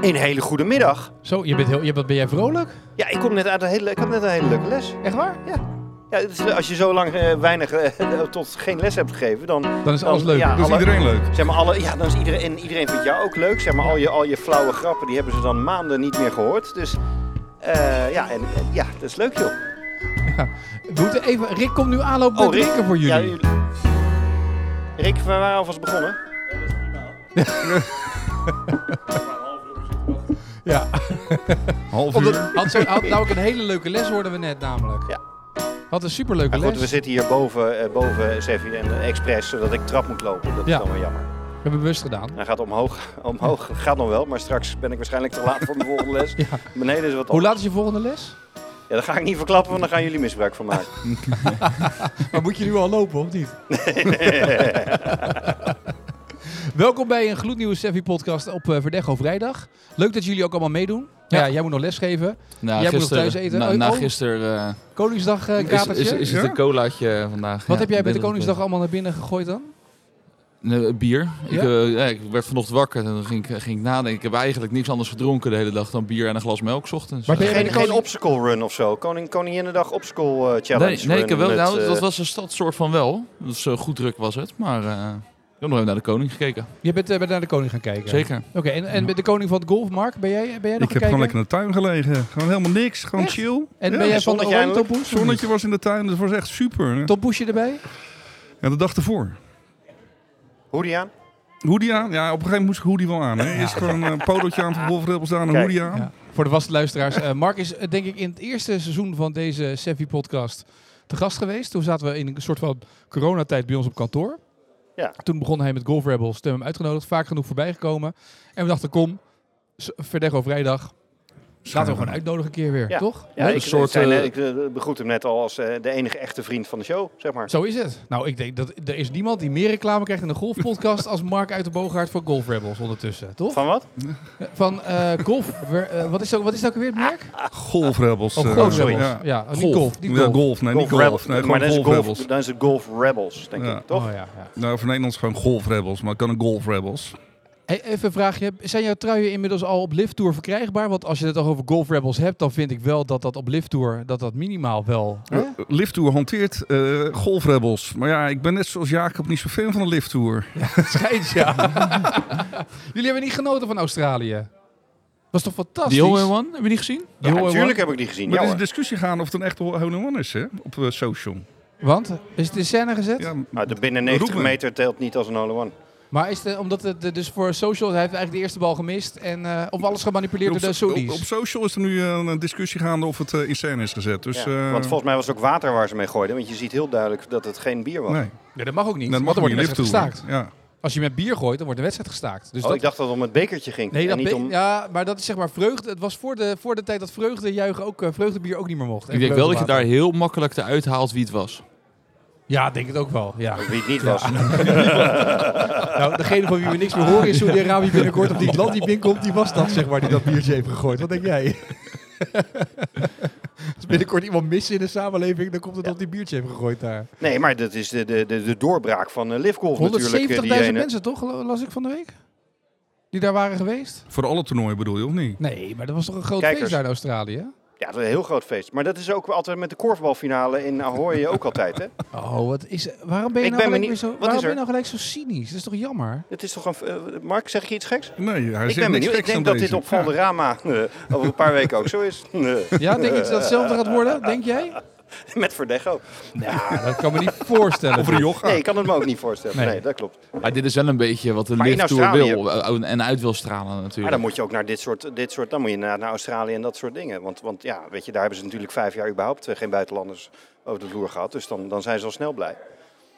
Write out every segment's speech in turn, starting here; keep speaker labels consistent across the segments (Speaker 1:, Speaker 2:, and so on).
Speaker 1: Een hele goede middag.
Speaker 2: Zo, je bent heel, je, wat ben jij vrolijk?
Speaker 1: Ja, ik, kom net uit een hele, ik had net een hele leuke les.
Speaker 2: Echt waar?
Speaker 1: Ja, het is- als je zo lang eh, weinig eh, tot geen les hebt gegeven, dan
Speaker 2: Dan is alles
Speaker 1: Dan-
Speaker 2: leuk. Dus
Speaker 1: ja.
Speaker 3: Dat is
Speaker 1: Alle-
Speaker 3: iedereen leuk.
Speaker 1: Zeg maar, alle, ja, dan is iedereen, en iedereen vindt jou ook leuk. Zeg maar, al, je, al je flauwe grappen, die hebben ze dan maanden niet meer gehoord. Dus eh, ja, en, en- ja, dat is leuk joh. Oh,
Speaker 2: We moeten even, Oh, Rick komt nu aanlopen met drinken voor
Speaker 1: ja,
Speaker 2: jullie.
Speaker 1: Rick, we waren alvast begonnen.
Speaker 2: Ja.
Speaker 3: Half
Speaker 1: Omdat-
Speaker 3: uur.
Speaker 2: Had, zo, had nou ook een hele leuke les hoorden we net namelijk.
Speaker 1: Ja.
Speaker 2: Had een superleuke
Speaker 1: Maar goed, we
Speaker 2: les.
Speaker 1: zitten hier boven, eh boven Seffi en eh, Express, zodat ik trap moet lopen. Dat
Speaker 2: Ja.
Speaker 1: is dan wel jammer.
Speaker 2: We hebben bewust gedaan.
Speaker 1: Hij Nou, gaat omhoog, omhoog. Gaat nog wel, maar straks ben ik waarschijnlijk te laat voor mijn volgende les.
Speaker 2: Ja.
Speaker 1: Beneden is wat
Speaker 2: Hoe
Speaker 1: anders.
Speaker 2: laat is je volgende les?
Speaker 1: Ja, dat ga ik niet verklappen, want dan gaan jullie misbruik van maken.
Speaker 2: Maar moet je nu al lopen, of niet? Welkom bij een gloednieuwe Sevi-podcast op eh, Verdecho Vrijdag. Leuk dat jullie ook allemaal meedoen. Ja,
Speaker 4: Ja.
Speaker 2: jij moet nog lesgeven.
Speaker 4: Nou,
Speaker 2: Jij moet nog
Speaker 4: gisteren-
Speaker 2: thuis eten.
Speaker 4: Na,
Speaker 2: Oh,
Speaker 4: na
Speaker 2: oh.
Speaker 4: gisteren eh,
Speaker 2: Koningsdag eh,
Speaker 4: is,
Speaker 2: katertje.
Speaker 4: is, is het
Speaker 3: Ja?
Speaker 4: een colaatje vandaag.
Speaker 2: Wat
Speaker 4: Ja,
Speaker 2: heb jij bij de
Speaker 4: ik weet
Speaker 2: Koningsdag
Speaker 4: het
Speaker 2: allemaal naar binnen gegooid dan?
Speaker 4: niet. Nee, bier.
Speaker 2: Ja?
Speaker 4: Ik, eh, ja, ik werd vanochtend wakker en toen ging ik, ging ik nadenken. Ik heb eigenlijk niks anders gedronken de hele dag dan bier en een glas melk 's ochtends.
Speaker 2: Maar ben je bij
Speaker 1: Geen,
Speaker 2: de
Speaker 1: geen
Speaker 2: koning...
Speaker 1: obstacle run of zo. Koning, Koninginnedag obstacle eh,
Speaker 4: Eh,
Speaker 1: challenge.
Speaker 4: nee, nee ik heb wel,
Speaker 1: run met,
Speaker 4: nou, dat
Speaker 1: eh,
Speaker 4: was een stadsoort van wel. Dus eh, goed druk was het. Maar eh ik heb nog even naar de koning gekeken.
Speaker 2: Je bent, eh, bent naar de koning gaan kijken.
Speaker 4: Zeker.
Speaker 2: Oké, en, en met de koning van het golf, Mark, ben jij, ben jij nog
Speaker 3: Ik heb
Speaker 2: gaan
Speaker 3: gewoon lekker
Speaker 2: kijken?
Speaker 3: in de tuin gelegen. Gewoon helemaal niks. Gewoon
Speaker 2: Echt?
Speaker 3: chill.
Speaker 2: En
Speaker 3: Ja.
Speaker 2: ben jij van de
Speaker 1: zonnetje
Speaker 2: oranje
Speaker 1: eindelijk.
Speaker 2: tompoes? of niet?
Speaker 3: Zonnetje was in de tuin. Dat was echt super.
Speaker 2: Tompoesje erbij?
Speaker 3: Ja, de dag ervoor.
Speaker 1: Hoodie aan.
Speaker 3: Hoodie aan. Ja, op een gegeven moment moest ik hoodie wel aan. Hè. Eerst gewoon eh, een polootje aan van Wolf Rebels aan. Een
Speaker 1: Kijk.
Speaker 3: hoodie aan.
Speaker 2: Ja. Voor de vaste luisteraars. eh, Mark is eh, denk ik in het eerste seizoen van deze Sevi-podcast te gast geweest. Toen zaten we in een soort van coronatijd bij ons op kantoor.
Speaker 1: Ja.
Speaker 2: Toen begon hij met Golf Rebels. Toen hebben we hem uitgenodigd. Vaak genoeg voorbij gekomen. En we dachten, kom, s- Verdecho vrijdag. Laten we gewoon uitnodigen een keer weer,
Speaker 1: Ja.
Speaker 2: toch?
Speaker 1: Ja,
Speaker 4: Leuk.
Speaker 1: ik,
Speaker 4: Soort,
Speaker 1: ik zei net-
Speaker 4: eh,
Speaker 1: ik, eh, begroet hem net al als eh, de enige echte vriend van de show, zeg maar.
Speaker 2: Zo is het. Nou, ik denk dat er is niemand die meer reclame krijgt in de golfpodcast als Mark uit de Boogaard voor Golf Rebels ondertussen, toch?
Speaker 1: Van wat?
Speaker 2: Van eh, golf. wer- eh, wat is dat? Wat is dat ook weer het merk?
Speaker 3: Golf Rebels.
Speaker 2: Oh,
Speaker 3: eh,
Speaker 2: golf
Speaker 1: sorry.
Speaker 2: Rebels. Ja,
Speaker 3: Ah, Ja.
Speaker 2: oh, niet golf. Niet
Speaker 3: Ja,
Speaker 2: golf.
Speaker 3: golf. Nee, niet golf.
Speaker 1: Rebels.
Speaker 3: Nee,
Speaker 1: maar dan
Speaker 3: gewoon
Speaker 1: is,
Speaker 3: golf
Speaker 1: golf,
Speaker 3: Rebels.
Speaker 1: dan is het Golf Rebels, denk
Speaker 3: Ja.
Speaker 1: ik, toch?
Speaker 2: Oh, ja, ja.
Speaker 3: Nou, voor Nederlands gewoon golf Rebels. Maar het kan een golf Rebels.
Speaker 2: Hey, even een vraagje. Zijn jouw truien inmiddels al op Lift Tour verkrijgbaar? Want als je het al over Golf Rebels hebt, dan vind ik wel dat dat op Lift Tour dat dat minimaal wel. hè?
Speaker 3: Eh, Lift Tour hanteert eh, golf Rebels. Maar ja, ik ben net zoals Jacob niet zo fan van de Lift Tour.
Speaker 2: Het schijnt, ja. Jullie hebben niet genoten van Australië. Was toch
Speaker 4: Die
Speaker 2: fantastisch?
Speaker 4: jongen One, heb je die gezien?
Speaker 1: Ja,
Speaker 2: Heel erg
Speaker 1: natuurlijk heb ik die gezien.
Speaker 3: Maar
Speaker 1: Ja,
Speaker 3: er is dus- een
Speaker 1: hoor.
Speaker 3: discussie gaan of het een echt hole-in-one is hè? op eh, social.
Speaker 2: Want is het in scène gezet?
Speaker 3: Ja,
Speaker 1: Maar de binnen 90
Speaker 3: Roepen.
Speaker 1: meter telt niet als een hole one
Speaker 2: Maar is het omdat het eh, dus voor social hij heeft eigenlijk de eerste bal gemist en eh, of alles gemanipuleerd door de
Speaker 3: so- op, op
Speaker 2: Saudis?
Speaker 3: social is er nu eh, een discussie gaande of het eh, in scène is gezet. Dus, eh,
Speaker 1: Want volgens mij was het ook water waar ze mee gooiden. Want je ziet heel duidelijk dat het geen bier was.
Speaker 3: nee,
Speaker 2: Nee, dat mag ook niet.
Speaker 3: dat
Speaker 2: want
Speaker 3: mag
Speaker 2: dan wordt de
Speaker 3: niet.
Speaker 2: wedstrijd
Speaker 3: Lift Tour.
Speaker 2: gestaakt.
Speaker 3: Ja.
Speaker 2: Als je met bier gooit, dan wordt de wedstrijd gestaakt. Dus
Speaker 1: oh,
Speaker 2: dat
Speaker 1: ik dacht dat het om het bekertje ging.
Speaker 2: Nee,
Speaker 1: en
Speaker 2: dat
Speaker 1: niet
Speaker 2: be-
Speaker 1: om...
Speaker 2: ja, maar dat is zeg maar vreugde. Het was voor de, voor de tijd dat vreugdejuichen ook eh, vreugdebier ook niet meer mocht. En
Speaker 4: Ik denk wel dat je daar
Speaker 2: vreugdewater.
Speaker 4: heel makkelijk eruit haalt wie het was.
Speaker 2: Ja, denk het ook wel. Ja.
Speaker 1: Wie het niet was.
Speaker 2: nou, degene van wie we niks meer horen is Saudi-Arabië binnenkort op die het land die binnenkomt, die was dat zeg maar die dat biertje heeft gegooid. Wat denk jij? Als binnenkort iemand mis in de samenleving, dan komt het op die biertje heeft gegooid daar.
Speaker 1: Nee, maar dat is de, de, de, de doorbraak van uh, Liftgolf natuurlijk. eh,
Speaker 2: 170.000
Speaker 1: die ene.
Speaker 2: mensen toch, lo- las ik van de week? Die daar waren geweest?
Speaker 3: Voor alle toernooien bedoel je, of niet?
Speaker 2: Nee, maar dat was toch een groot
Speaker 1: Kijkers.
Speaker 2: feest daar in Australië?
Speaker 1: Ja, dat is een heel groot feest. Maar dat is ook altijd met de korfbalfinale in Ahoy eh, ook altijd, hè?
Speaker 2: Oh, wat is... Waarom ben je,
Speaker 1: Ik
Speaker 2: nou,
Speaker 1: ben
Speaker 2: gelijk,
Speaker 1: benieu-
Speaker 2: weer zo,
Speaker 1: Wat
Speaker 2: waarom
Speaker 1: is
Speaker 2: ben
Speaker 1: er?
Speaker 2: je nou gelijk zo cynisch? Dat is toch jammer?
Speaker 1: Het is toch een... eh, Mark, zeg je iets geks?
Speaker 3: Nee, hij
Speaker 1: Ik
Speaker 3: zegt
Speaker 1: ben
Speaker 3: niks
Speaker 1: benieuwd. Ik
Speaker 3: geks aan
Speaker 1: denk dat
Speaker 3: deze.
Speaker 1: dit op Valderrama eh, over een paar weken ook zo is. Eh,
Speaker 2: Ja, denk je dat hetzelfde gaat worden? Denk jij?
Speaker 1: Met Verdecho.
Speaker 2: Ja, dat kan me niet voorstellen.
Speaker 3: Over de Jocha.
Speaker 1: Nee, ik kan het me ook niet voorstellen.
Speaker 2: Nee.
Speaker 1: Nee, dat klopt.
Speaker 4: Maar dit is wel een beetje wat de
Speaker 1: Maar in
Speaker 4: lift tour
Speaker 1: Australië-
Speaker 4: wil eh, en uit wil stralen
Speaker 1: Maar
Speaker 4: natuurlijk.
Speaker 1: dan moet je ook naar dit soort... Dit soort dan moet je naar, naar Australië en dat soort dingen. Want, want ja, weet je, daar hebben ze natuurlijk vijf jaar überhaupt eh, geen buitenlanders over de vloer gehad. Dus dan, dan zijn ze al snel blij.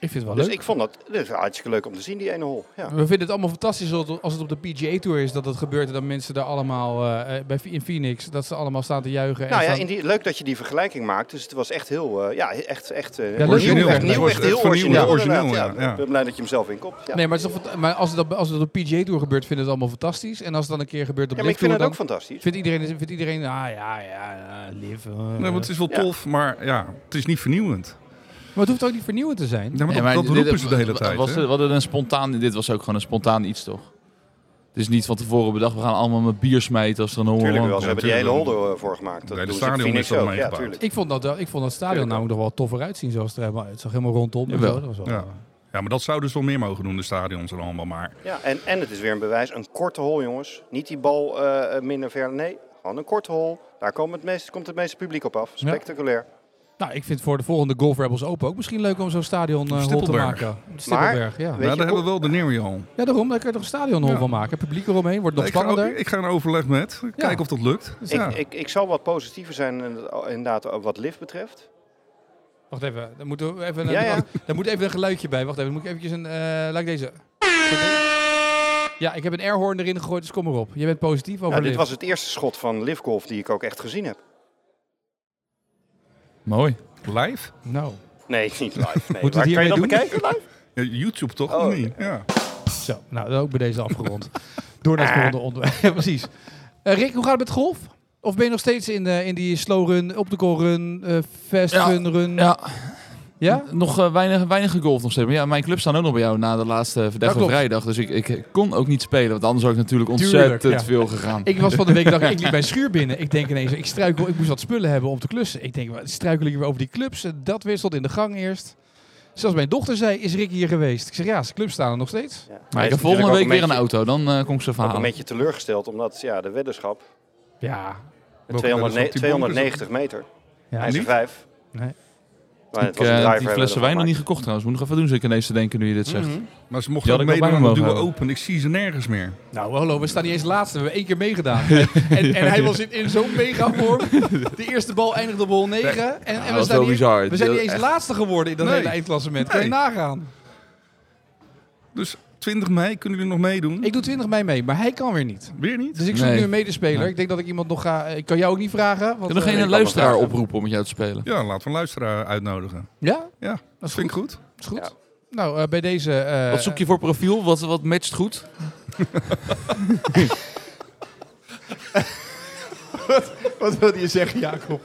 Speaker 2: Ik vind het wel
Speaker 1: Dus
Speaker 2: leuk.
Speaker 1: ik vond dat, dat is hartstikke leuk om te zien, die ene hol. Ja.
Speaker 2: We vinden het allemaal fantastisch als als het op de PGA Tour is dat dat gebeurt en dat mensen daar allemaal eh, eh, bij, in Phoenix, dat ze allemaal staan te juichen. en
Speaker 1: Nou ja,
Speaker 2: staan-
Speaker 1: in die, leuk dat je die vergelijking maakt. Dus het was echt heel, eh, ja, echt, echt, eh,
Speaker 2: Ja, leuk.
Speaker 1: origineel,
Speaker 2: Origineel,
Speaker 1: echt
Speaker 2: hè?
Speaker 1: nieuw,
Speaker 3: Het
Speaker 1: echt
Speaker 3: was
Speaker 1: heel
Speaker 3: echt van nieuw,
Speaker 1: origineel.
Speaker 3: ja. Origineel,
Speaker 1: inderdaad,
Speaker 3: ja, ja.
Speaker 1: Ik ben blij dat je hem zelf inkomt. Ja.
Speaker 2: Nee, maar, het is toch fant- maar als, het dat, als het op de PGA Tour gebeurt, vinden we het allemaal fantastisch. En als het dan een keer gebeurt op
Speaker 1: ja, maar
Speaker 2: Live
Speaker 1: ik vind
Speaker 2: Tour,
Speaker 1: het
Speaker 2: dan
Speaker 1: ook fantastisch.
Speaker 2: vindt iedereen, vindt iedereen, ah ja, ja, ja, live. eh.
Speaker 3: Nee, want het is wel
Speaker 1: Ja.
Speaker 3: tof, maar ja, het is niet vernieuwend.
Speaker 2: Maar het hoeft ook niet vernieuwend te zijn.
Speaker 3: Ja, maar
Speaker 4: Nee,
Speaker 3: dat,
Speaker 4: maar
Speaker 3: dat
Speaker 4: dit-
Speaker 3: roepen
Speaker 4: dit-
Speaker 3: ze de hele
Speaker 4: wa-
Speaker 3: tijd.
Speaker 4: Was,
Speaker 3: hè?
Speaker 4: het- wat het een spontaan, dit was ook gewoon een spontaan iets, toch? Het is niet van tevoren bedacht, we gaan allemaal met bier smijten als er een honger
Speaker 1: Tuurlijk wel, ze
Speaker 4: run
Speaker 1: hebben
Speaker 4: komt.
Speaker 1: die hele
Speaker 3: tuurlijk.
Speaker 1: holder eh, voor gemaakt. Dat
Speaker 3: Bij de
Speaker 1: doen ze
Speaker 3: stadion
Speaker 1: Phoenix
Speaker 3: is dat
Speaker 1: ook.
Speaker 3: omheen
Speaker 1: Ja,
Speaker 3: gebouwd.
Speaker 1: tuurlijk.
Speaker 2: Ik vond dat, eh, ik vond dat stadion
Speaker 1: Tuurlijk wel.
Speaker 2: namelijk nog wel toffer uitzien zoals het er helemaal, het zag helemaal rondom. en
Speaker 4: Jawel.
Speaker 2: zo, dat was wel,
Speaker 3: Ja. Ja, maar dat zou dus wel meer mogen doen, de stadions en allemaal. Maar Nou,
Speaker 1: Ja, en, en het is weer een bewijs. Een korte hol, jongens. Niet die bal eh, eh, minder ver. Nee, gewoon een korte hol. Daar komt het meeste, komt het meeste publiek op af. Spectaculair.
Speaker 2: Nou, ik vind voor de volgende Golf Rebels Open ook misschien leuk om zo'n stadion eh hol te
Speaker 3: Stippelberg.
Speaker 2: maken. Stippelberg, ja.
Speaker 1: Weet
Speaker 3: ja,
Speaker 1: je,
Speaker 3: daar hebben we wel de Neri al.
Speaker 2: Ja, daarom, daar kun je toch een stadionhol
Speaker 3: Ja.
Speaker 2: van maken. Publiek eromheen, wordt nog
Speaker 3: ik, ga,
Speaker 2: spannender.
Speaker 3: ook- ik ga in overleg met. Kijken of dat lukt. Dus ja.
Speaker 1: Ik, ik, ik zal wat positiever zijn in- inderdaad wat lift betreft.
Speaker 2: Wacht even, daar moet even een,
Speaker 1: Ja, ja.
Speaker 2: wacht, daar moet even een geluidje bij. Wacht even, dan moet ik eventjes een... eh, laat ik deze... Ja, ik heb een airhorn erin gegooid, dus kom maar op. Je bent positief over
Speaker 1: Nou, dit
Speaker 2: Liv.
Speaker 1: was het eerste schot van Liftgolf die ik ook echt gezien heb.
Speaker 4: Mooi.
Speaker 3: Live?
Speaker 2: Nou,
Speaker 1: Nee, niet live. Nee.
Speaker 2: Moeten we het
Speaker 1: kan je dat
Speaker 2: hiermee doen?
Speaker 1: bekijken? live?
Speaker 3: Ja, YouTube toch?
Speaker 1: Oh,
Speaker 3: Of niet? Ja.
Speaker 2: zo. Nou, dan ook bij deze afgerond. Door naar het volgende onderwerp. Ja, precies. Eh, Rick, hoe gaat het met golf? Of ben je nog steeds in, eh, in die slow run, optical run, eh fast
Speaker 4: Ja.
Speaker 2: run run? Ja?
Speaker 4: Ja, nog eh, weinig, weinig gegolfd nog steeds. Maar ja, mijn club staan ook nog bij jou na de laatste
Speaker 2: Dat
Speaker 4: verdachte
Speaker 2: klopt.
Speaker 4: vrijdag. Dus ik, ik kon ook niet spelen, want anders had ik natuurlijk
Speaker 2: Tuurlijk,
Speaker 4: ontzettend
Speaker 2: ja.
Speaker 4: veel gegaan.
Speaker 2: Ik was van de week, dacht ik, ik liep mijn schuur binnen. Ik denk ineens, ik struikel, ik moest wat spullen hebben om te klussen. Ik denk, wat struikel ik weer over die clubs? Eh, Dat wisselt in de gang eerst. Zelfs mijn dochter zei, is Rick hier geweest? Ik zeg, ja, zijn clubs staan er nog steeds.
Speaker 1: Ja.
Speaker 4: maar ik
Speaker 1: Hij
Speaker 4: heb
Speaker 1: is
Speaker 4: volgende week
Speaker 1: natuurlijk
Speaker 4: weer
Speaker 1: ook
Speaker 4: een auto, dan eh kom ik ze
Speaker 1: beetje- ook een
Speaker 4: verhalen.
Speaker 1: beetje teleurgesteld, omdat ja, de weddenschap...
Speaker 2: Ja.
Speaker 3: Welke
Speaker 1: 200
Speaker 3: weddenschap? Die
Speaker 1: 290 meter.
Speaker 2: ja.
Speaker 1: Hij is er
Speaker 3: niet?
Speaker 1: vijf.
Speaker 2: Nee.
Speaker 1: Maar het
Speaker 4: Ik,
Speaker 1: was een
Speaker 4: eh,
Speaker 1: driver
Speaker 4: die
Speaker 1: hebben we ervan
Speaker 4: flessen wijn nog
Speaker 1: gemaakt.
Speaker 4: niet gekocht trouwens. Moet ik nog even doen, zit ik ineens te denken nu je dit zegt.
Speaker 2: Mhm.
Speaker 3: Maar ze
Speaker 4: Die
Speaker 3: mochten
Speaker 4: had
Speaker 3: ook
Speaker 4: ik wel bij
Speaker 3: meedoen aan
Speaker 4: me
Speaker 3: de duo
Speaker 4: mogen
Speaker 3: open. Ik zie ze nergens meer.
Speaker 2: Nou, hallo, we staan niet eens laatste. We hebben één keer meegedaan. En, en hij was in, in zo'n mega vorm. De eerste bal eindigde op hol 9. En, en
Speaker 4: dat
Speaker 2: we,
Speaker 4: was
Speaker 2: staan
Speaker 4: wel
Speaker 2: niet,
Speaker 4: bizar.
Speaker 2: we zijn niet
Speaker 4: Dat-
Speaker 2: eens laatste geworden in dat
Speaker 3: Nee.
Speaker 2: hele eindklassement. Kan je
Speaker 3: Nee.
Speaker 2: nagaan.
Speaker 3: Dus 20 mei kunnen jullie nog meedoen?
Speaker 2: Ik doe 20 mei mee, maar hij kan weer niet.
Speaker 3: Weer niet?
Speaker 2: Dus ik zoek
Speaker 4: Nee.
Speaker 2: nu een medespeler. Ik denk dat ik iemand nog ga... Ik kan jou ook niet vragen. Want,
Speaker 4: Ik heb
Speaker 2: eh,
Speaker 4: nog
Speaker 1: ik
Speaker 4: geen
Speaker 1: kan me
Speaker 4: luisteraar
Speaker 1: vragen.
Speaker 4: oproepen om met jou te spelen.
Speaker 3: Ja, laten we een luisteraar uitnodigen.
Speaker 2: Ja,
Speaker 3: Ja,
Speaker 2: dat is
Speaker 3: vind
Speaker 2: goed.
Speaker 3: ik goed.
Speaker 2: Is goed.
Speaker 1: Ja.
Speaker 2: Nou, eh, bij deze... eh,
Speaker 4: Wat zoek je voor profiel? Wat, wat matcht goed?
Speaker 2: Wat wilde je zeggen, Jacob?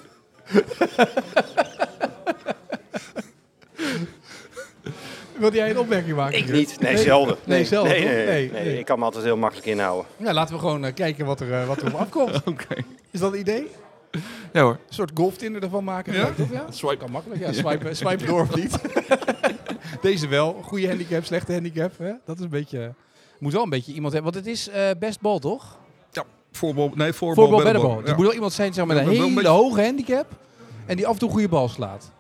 Speaker 2: wilde jij een opmerking maken?
Speaker 1: Ik
Speaker 2: Jurk?
Speaker 1: niet. Nee, zelden.
Speaker 2: Nee, zelden,
Speaker 1: Nee,
Speaker 2: toch?
Speaker 1: nee,
Speaker 2: Nee,
Speaker 1: nee,
Speaker 2: nee.
Speaker 1: Ik kan me altijd heel makkelijk inhouden.
Speaker 2: Ja, laten we gewoon eh, kijken wat er, eh, wat er op afkomt.
Speaker 4: Oké.
Speaker 2: Is dat een idee?
Speaker 4: Ja hoor.
Speaker 2: Een soort golftinder ervan maken?
Speaker 3: Ja.
Speaker 2: Leuk, toch? ja?
Speaker 4: Swipe.
Speaker 2: Kan makkelijk, ja. Swipe, swipe door of niet. Deze wel. Goede handicap, slechte handicap. Hè? Dat is een beetje... Moet wel een beetje iemand hebben. Want het is eh, best bal, toch?
Speaker 3: Voorbal, nee, voorbal,
Speaker 2: Voorbal,
Speaker 3: beddenbal.
Speaker 2: beddenbal. Dus
Speaker 3: Ja.
Speaker 2: moet wel iemand zijn zeg, maar, met
Speaker 3: Ja,
Speaker 2: een
Speaker 3: maar wel
Speaker 2: hele
Speaker 3: een
Speaker 2: hoge handicap. En die af en toe een goede bal slaat.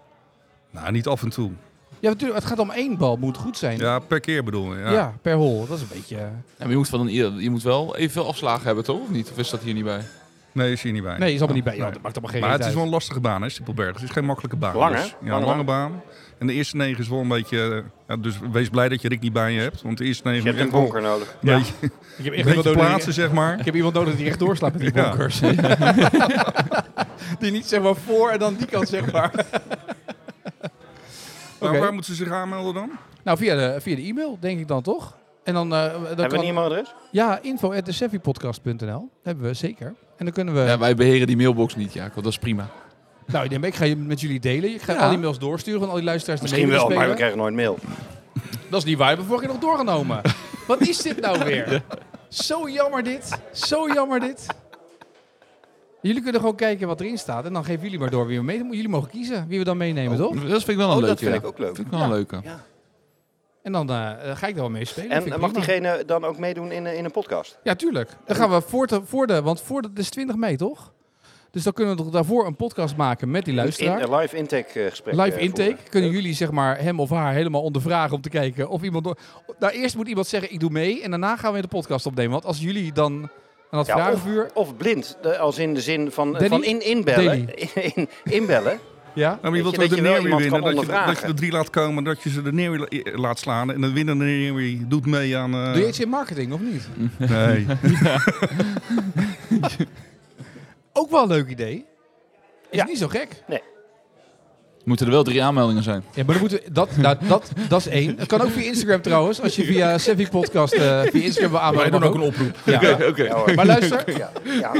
Speaker 3: Nou, niet af en toe.
Speaker 2: Ja, natuurlijk. Het gaat om één bal. Moet goed zijn.
Speaker 3: Ja, per keer bedoel je. Ja.
Speaker 2: Ja, per hol. Dat is een beetje... eh,
Speaker 4: Ja, maar je, moet wel een, je moet wel evenveel afslagen hebben, toch? Of niet? Of is dat hier niet bij?
Speaker 3: Nee, is hier niet bij.
Speaker 2: Nee, is allemaal niet bij. Ja,
Speaker 3: nee.
Speaker 2: dat maakt allemaal geen
Speaker 3: maar het is
Speaker 2: reet
Speaker 3: wel
Speaker 2: uit.
Speaker 3: een lastige baan, hè, Stippelberg. Het is geen makkelijke baan.
Speaker 1: Lang, hè?
Speaker 3: Dus, ja,
Speaker 1: Lange
Speaker 3: een lange baan. En de eerste negen is wel een beetje... eh, ja, dus wees blij dat je Rick niet bij je hebt. Want de eerste negen
Speaker 1: Je hebt
Speaker 3: is
Speaker 1: een
Speaker 3: echt
Speaker 1: bonker
Speaker 3: wel
Speaker 1: nodig.
Speaker 3: Een
Speaker 2: Ja.
Speaker 3: beetje,
Speaker 2: Ik heb
Speaker 3: een
Speaker 2: echt
Speaker 3: beetje
Speaker 2: iemand nodig
Speaker 3: plaatsen,
Speaker 2: die-
Speaker 3: zeg maar.
Speaker 2: Ik heb iemand nodig die echt doorslaat met die
Speaker 3: Ja.
Speaker 2: bonkers. die niet zeg maar voor en dan die kant zeg maar.
Speaker 3: Maar
Speaker 2: Oké.
Speaker 3: waar moeten ze zich aanmelden dan?
Speaker 2: Nou, via de, via de e-mail denk ik dan toch? En dan, eh, dan
Speaker 1: Hebben
Speaker 2: kan,
Speaker 1: we een e-mailadres?
Speaker 2: ja, info at Hebben we zeker. En dan
Speaker 1: Eh.
Speaker 2: kunnen we...
Speaker 4: Ja, wij beheren die mailbox niet, Jacob. Dat is prima.
Speaker 1: Oh,
Speaker 2: Nou, ik denk, ik ga je met jullie delen. Ik ga
Speaker 4: Ja.
Speaker 2: al die mails doorsturen van al die luisteraars. die
Speaker 1: Misschien
Speaker 2: mee
Speaker 1: wel,
Speaker 2: willen
Speaker 1: maar we
Speaker 2: spelen.
Speaker 1: krijgen nooit mail.
Speaker 2: Dat is niet waar. Hebben we vorige keer nog doorgenomen. Wat is dit nou weer? Zo jammer dit. Zo jammer dit. Jullie kunnen gewoon kijken wat erin staat. En dan geven jullie maar door wie we mee. Jullie mogen kiezen wie we dan meenemen, toch?
Speaker 4: Dat vind ik wel een
Speaker 1: Oh,
Speaker 4: leuke.
Speaker 1: dat vind
Speaker 4: ja.
Speaker 1: ik ook leuk.
Speaker 4: Vind ik wel een leuke.
Speaker 2: En dan eh, eh, ga ik daar wel mee spelen.
Speaker 1: En
Speaker 2: Vind ik
Speaker 1: mag
Speaker 2: prima.
Speaker 1: diegene dan ook meedoen in, eh, in een podcast?
Speaker 2: Ja, tuurlijk. Dan gaan we voor de, voor de want voor de, het is 20 mei, toch? Dus dan kunnen we toch daarvoor een podcast maken met die luisteraar.
Speaker 1: In, een live intake eh, gesprek.
Speaker 2: Live
Speaker 1: eh,
Speaker 2: intake.
Speaker 1: voeren.
Speaker 2: Kunnen jullie zeg maar hem of haar helemaal ondervragen om te kijken of iemand... Door... Nou, eerst moet iemand zeggen ik doe mee en daarna gaan we de podcast opnemen. Want als jullie dan aan dat
Speaker 1: Ja,
Speaker 2: vragenvuur...
Speaker 1: Of blind, de- als in de zin van,
Speaker 2: Danny?
Speaker 1: eh, van in, inbellen.
Speaker 2: Danny.
Speaker 1: In, inbellen.
Speaker 2: Ja?
Speaker 3: Nou, maar je
Speaker 1: Weet je
Speaker 3: wilt wel
Speaker 1: dat
Speaker 3: de
Speaker 1: je wel
Speaker 3: Neerwie
Speaker 1: iemand
Speaker 3: winnen.
Speaker 1: kan
Speaker 3: Dat je, dat je
Speaker 1: ondervragen?
Speaker 3: de drie laat komen, dat je ze de Neerwie la- eh, laat slaan. En de winnende Neerwie doet mee aan... eh,
Speaker 2: Doe je iets in marketing of niet?
Speaker 3: Nee.
Speaker 2: Ook wel een leuk idee. Is
Speaker 1: Ja.
Speaker 2: niet zo gek.
Speaker 4: Moeten er wel drie aanmeldingen zijn.
Speaker 2: Ja, maar dan moeten we- dat, nou, dat, dat is één. Het kan ook via Instagram trouwens. Als je via Sevi Podcast eh, via Instagram wil aanmelden.
Speaker 3: Wij
Speaker 2: mag
Speaker 3: doen ook een oproep.
Speaker 2: Ja.
Speaker 4: oké.
Speaker 1: Ja, hoor.
Speaker 2: Maar luister,
Speaker 1: Ja, ja.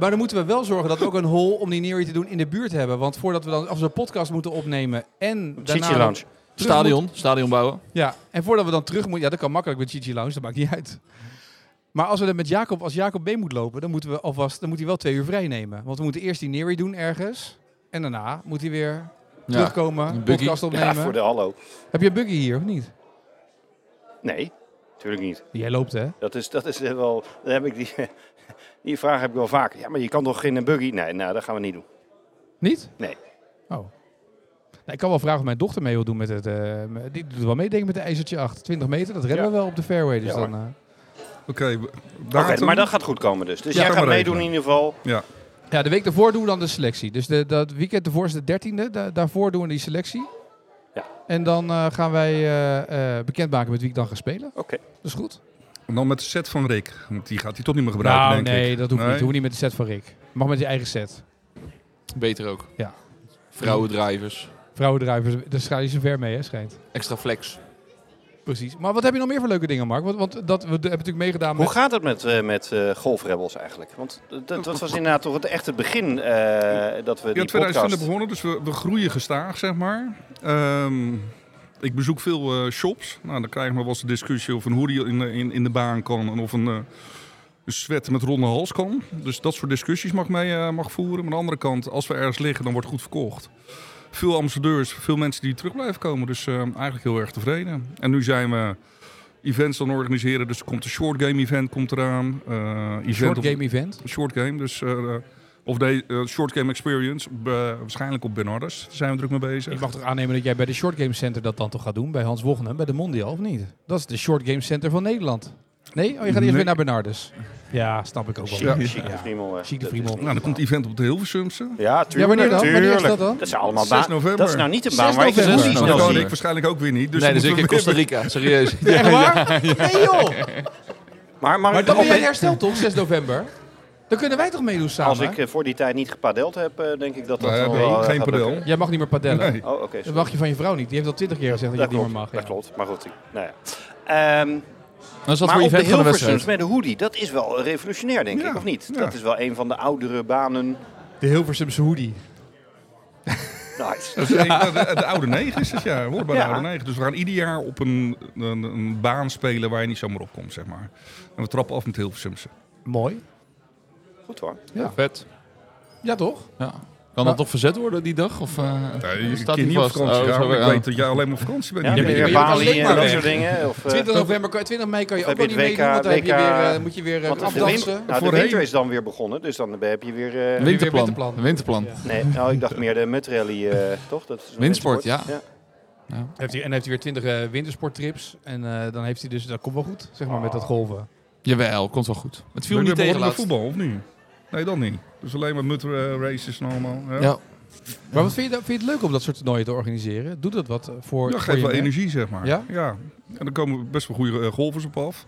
Speaker 2: Maar dan moeten we wel zorgen dat we ook een hol om die neerweer te doen in de buurt hebben. Want voordat we dan als we een podcast moeten opnemen en daarna
Speaker 1: Chichi Lounge.
Speaker 2: terug
Speaker 4: Stadion, stadion bouwen.
Speaker 2: moeten- ja, en voordat we dan terug moeten, ja, dat kan makkelijk met Gigi Lounge, dat maakt niet uit. Maar als we dat met Jacob, als Jacob mee moet lopen, dan, moeten we alvast, dan moet hij wel twee uur vrij nemen. Want we moeten eerst die Neri doen ergens. En daarna moet hij weer terugkomen,
Speaker 4: een buggy.
Speaker 2: podcast opnemen.
Speaker 1: Ja, voor de hallo.
Speaker 2: Heb je een buggy hier of niet?
Speaker 1: Nee, natuurlijk niet.
Speaker 2: Jij loopt hè?
Speaker 1: Dat is, dat is wel, dan heb ik die, die vraag heb ik wel vaak. Ja, maar je kan toch geen buggy? Nee, nou, dat gaan we niet doen.
Speaker 2: Niet?
Speaker 1: Nee.
Speaker 2: Oh. Nou, ik kan wel vragen of mijn dochter mee wil doen met het. eh, met- die doet wel mee, denk ik, met een ijzertje 8. 20 meter, dat redden
Speaker 1: Ja.
Speaker 2: we wel op de fairway. Dus
Speaker 1: Ja,
Speaker 2: dan,
Speaker 1: hoor.
Speaker 2: eh,
Speaker 3: Oké,
Speaker 1: Oké, maar dat
Speaker 3: dan.
Speaker 1: gaat goed komen dus. Dus
Speaker 2: Ja,
Speaker 1: jij
Speaker 2: kan
Speaker 1: gaat
Speaker 3: maar
Speaker 1: meedoen in
Speaker 3: regelen.
Speaker 1: ieder geval.
Speaker 2: ja, de week daarvoor doen we dan de selectie. Dus de, dat weekend daarvoor is de 13e. Da- daarvoor doen we die selectie.
Speaker 1: Ja.
Speaker 2: En dan eh, gaan wij eh, eh, bekendmaken met wie ik dan ga spelen.
Speaker 1: Oké.
Speaker 2: Dat is goed.
Speaker 3: En dan met de set van Rick. Want die gaat hij toch niet meer gebruiken,
Speaker 2: nou,
Speaker 3: denk ik.
Speaker 2: nee, dat hoeft niet.
Speaker 3: Nee?
Speaker 2: Dat hoeft niet met de set van Rick. Mag met je eigen set.
Speaker 4: Beter ook.
Speaker 2: Ja.
Speaker 4: Vrouwendrijvers.
Speaker 2: Vrouwendruivers, dus daar schaal je zo ver mee, hè, schijnt.
Speaker 4: Extra
Speaker 3: Dus
Speaker 4: flex.
Speaker 2: Precies. Maar wat heb je nog meer voor leuke dingen, Mark? Want, want dat, we hebben natuurlijk meegedaan
Speaker 1: Hoe
Speaker 2: met...
Speaker 1: gaat het met, eh, met eh, golfrebels eigenlijk? Want dat, dat was inderdaad toch het, echt het begin eh, dat we
Speaker 3: Ja,
Speaker 1: die podcast...
Speaker 3: 2020 begonnen, dus we, we groeien gestaag, zeg maar. Ehm, ik bezoek veel eh, shops. Nou, dan krijgen we wel eens de discussie of een hoodie in, de- in, in de baan kan en of een, eh een sweat met ronde hals kan. Dus dat soort discussies mag ik mee eh, mag voeren. Maar aan de andere kant, als we ergens liggen, dan wordt goed verkocht. Veel ambassadeurs, veel mensen die terug blijven komen. Dus eh, eigenlijk heel erg tevreden. En nu zijn we events aan het organiseren. Dus er komt een short game event komt eraan. Eh, event
Speaker 2: Short
Speaker 3: op-
Speaker 2: game event.
Speaker 3: een short game. Dus, eh, of de eh, short game experience, eh, waarschijnlijk op Bernardus. Daar zijn we druk mee bezig.
Speaker 2: Ik mag toch aannemen dat jij bij de Short Game Center dat dan toch gaat doen? Bij Hans Wochenum, bij de Mondial, of niet? Dat is de Short Game Center van Nederland. Nee? Oh, je gaat eerst
Speaker 3: Nee.
Speaker 2: weer naar Bernardus. Ja, snap ik ook wel.
Speaker 1: Chic,
Speaker 2: Ja,
Speaker 1: chic de Friemel. eh,
Speaker 2: Chic
Speaker 1: dat
Speaker 2: de
Speaker 1: is
Speaker 2: Friemel.
Speaker 1: niet
Speaker 3: nou, dan komt
Speaker 1: normaal.
Speaker 3: event op de Hilversumse.
Speaker 1: Ja, tuurlijk.
Speaker 2: wanneer dan?
Speaker 1: tuurlijk.
Speaker 2: Wanneer is dat dan?
Speaker 1: Dat zijn allemaal
Speaker 3: 6
Speaker 1: baan.
Speaker 3: november.
Speaker 1: Dat is nou niet een
Speaker 2: 6
Speaker 1: baan waar je
Speaker 2: november.
Speaker 1: gezondheid
Speaker 3: Nou,
Speaker 1: snel
Speaker 3: dan kan
Speaker 1: ziet.
Speaker 3: ik waarschijnlijk ook weer niet. Dus
Speaker 4: nee,
Speaker 3: dan
Speaker 4: dus ik in
Speaker 3: moeten
Speaker 4: Costa
Speaker 3: we weer-
Speaker 4: Rica. Serieus.
Speaker 2: Echt waar? Nee joh!
Speaker 1: Maar,
Speaker 2: Maar
Speaker 1: maar
Speaker 2: dan ben jij in herstel toch, 6 november? Dan kunnen wij toch meedoen samen?
Speaker 1: als ik eh, voor die tijd niet gepadeld heb, eh, denk ik dat dat wel...
Speaker 3: We hebben
Speaker 1: wel, eh,
Speaker 3: geen
Speaker 1: gaat lukken.
Speaker 3: padel.
Speaker 2: Jij mag niet meer padellen.
Speaker 3: Nee.
Speaker 1: Oh, oké.
Speaker 2: Dat
Speaker 1: sorry.
Speaker 2: mag je van je vrouw niet. Die heeft al 20 keer gezegd dat,
Speaker 1: dat
Speaker 2: je het
Speaker 1: klopt,
Speaker 2: niet meer mag.
Speaker 1: dat
Speaker 2: ja.
Speaker 1: klopt. Maar goed, ik- nou ja. Ehm,
Speaker 4: Dat Nou, is wat
Speaker 1: maar
Speaker 4: voor
Speaker 1: op de
Speaker 4: event van de
Speaker 1: Hilversums
Speaker 4: wedstrijd.
Speaker 1: met de hoodie, dat is wel revolutionair, denk
Speaker 3: Ja,
Speaker 1: ik, of niet?
Speaker 3: ja.
Speaker 1: Dat is wel een van de oudere banen.
Speaker 2: De Hilversumse hoodie.
Speaker 1: Nice.
Speaker 3: Dat is een- nou, de, de oude negen is het jaar. Hoor bij
Speaker 1: Ja.
Speaker 3: de oude negen. Dus we gaan ieder jaar op een, een, een baan spelen waar je niet zomaar op komt, zeg maar. En we trappen af met Hilversumse.
Speaker 2: Mooi.
Speaker 1: Goed hoor.
Speaker 2: Ja,
Speaker 4: Vet.
Speaker 2: ja toch?
Speaker 1: Eh,
Speaker 4: Ja. Kan dat toch verzet worden die dag? Of, eh,
Speaker 3: Nee, ik
Speaker 4: staat
Speaker 3: kan
Speaker 4: die
Speaker 3: niet op
Speaker 4: vast?
Speaker 3: vakantie
Speaker 4: Oh,
Speaker 3: gaan.
Speaker 4: zo
Speaker 3: want
Speaker 4: weer-
Speaker 3: Ik
Speaker 4: oh.
Speaker 3: weet dat jij alleen maar op vakantie bent.
Speaker 1: Ja,
Speaker 2: maar je
Speaker 1: weer
Speaker 2: bent als
Speaker 1: Bali
Speaker 2: lidmaat
Speaker 1: en dat
Speaker 2: weg.
Speaker 1: soort dingen. Of, eh,
Speaker 2: 20 november, 20 mei kan je
Speaker 1: Of
Speaker 2: ook
Speaker 1: heb
Speaker 2: nog
Speaker 1: je
Speaker 2: niet
Speaker 1: het
Speaker 2: meedoen, want dan
Speaker 1: WK
Speaker 2: heb je weer, eh, moet je weer eh,
Speaker 1: want de
Speaker 2: afdansen.
Speaker 1: winter, nou, de
Speaker 3: Voorheen.
Speaker 1: winter is dan weer begonnen, dus dan heb je weer... eh,
Speaker 2: Win-
Speaker 4: Winterplan.
Speaker 2: Winterplan.
Speaker 4: Een Winterplan.
Speaker 2: Ja.
Speaker 1: nee, nou, ik dacht meer de mutrally, eh, toch? Dat is een
Speaker 4: Windsport,
Speaker 2: Heeft hij, en heeft hij weer 20 eh, wintersporttrips. En eh, dan heeft hij dus, dat komt wel goed, zeg maar, met
Speaker 1: Ah.
Speaker 2: dat golven.
Speaker 4: Jawel, komt wel goed. Het viel me
Speaker 3: Maar
Speaker 4: niet
Speaker 3: we
Speaker 4: tegen
Speaker 3: begonnen met
Speaker 4: laatst.
Speaker 3: voetbal, of niet? Nee, dan niet. Dus alleen maar mutter eh, races en allemaal. Ja.
Speaker 4: Ja.
Speaker 2: Maar wat vind je, dat- vind je het leuk om dat soort toernooien te organiseren? Doet dat wat eh, voor,
Speaker 3: Ja,
Speaker 2: voor
Speaker 3: geeft
Speaker 2: je
Speaker 3: wel
Speaker 2: merk?
Speaker 3: energie, zeg maar.
Speaker 2: Ja?
Speaker 3: En dan komen best wel goede eh, golfers op af.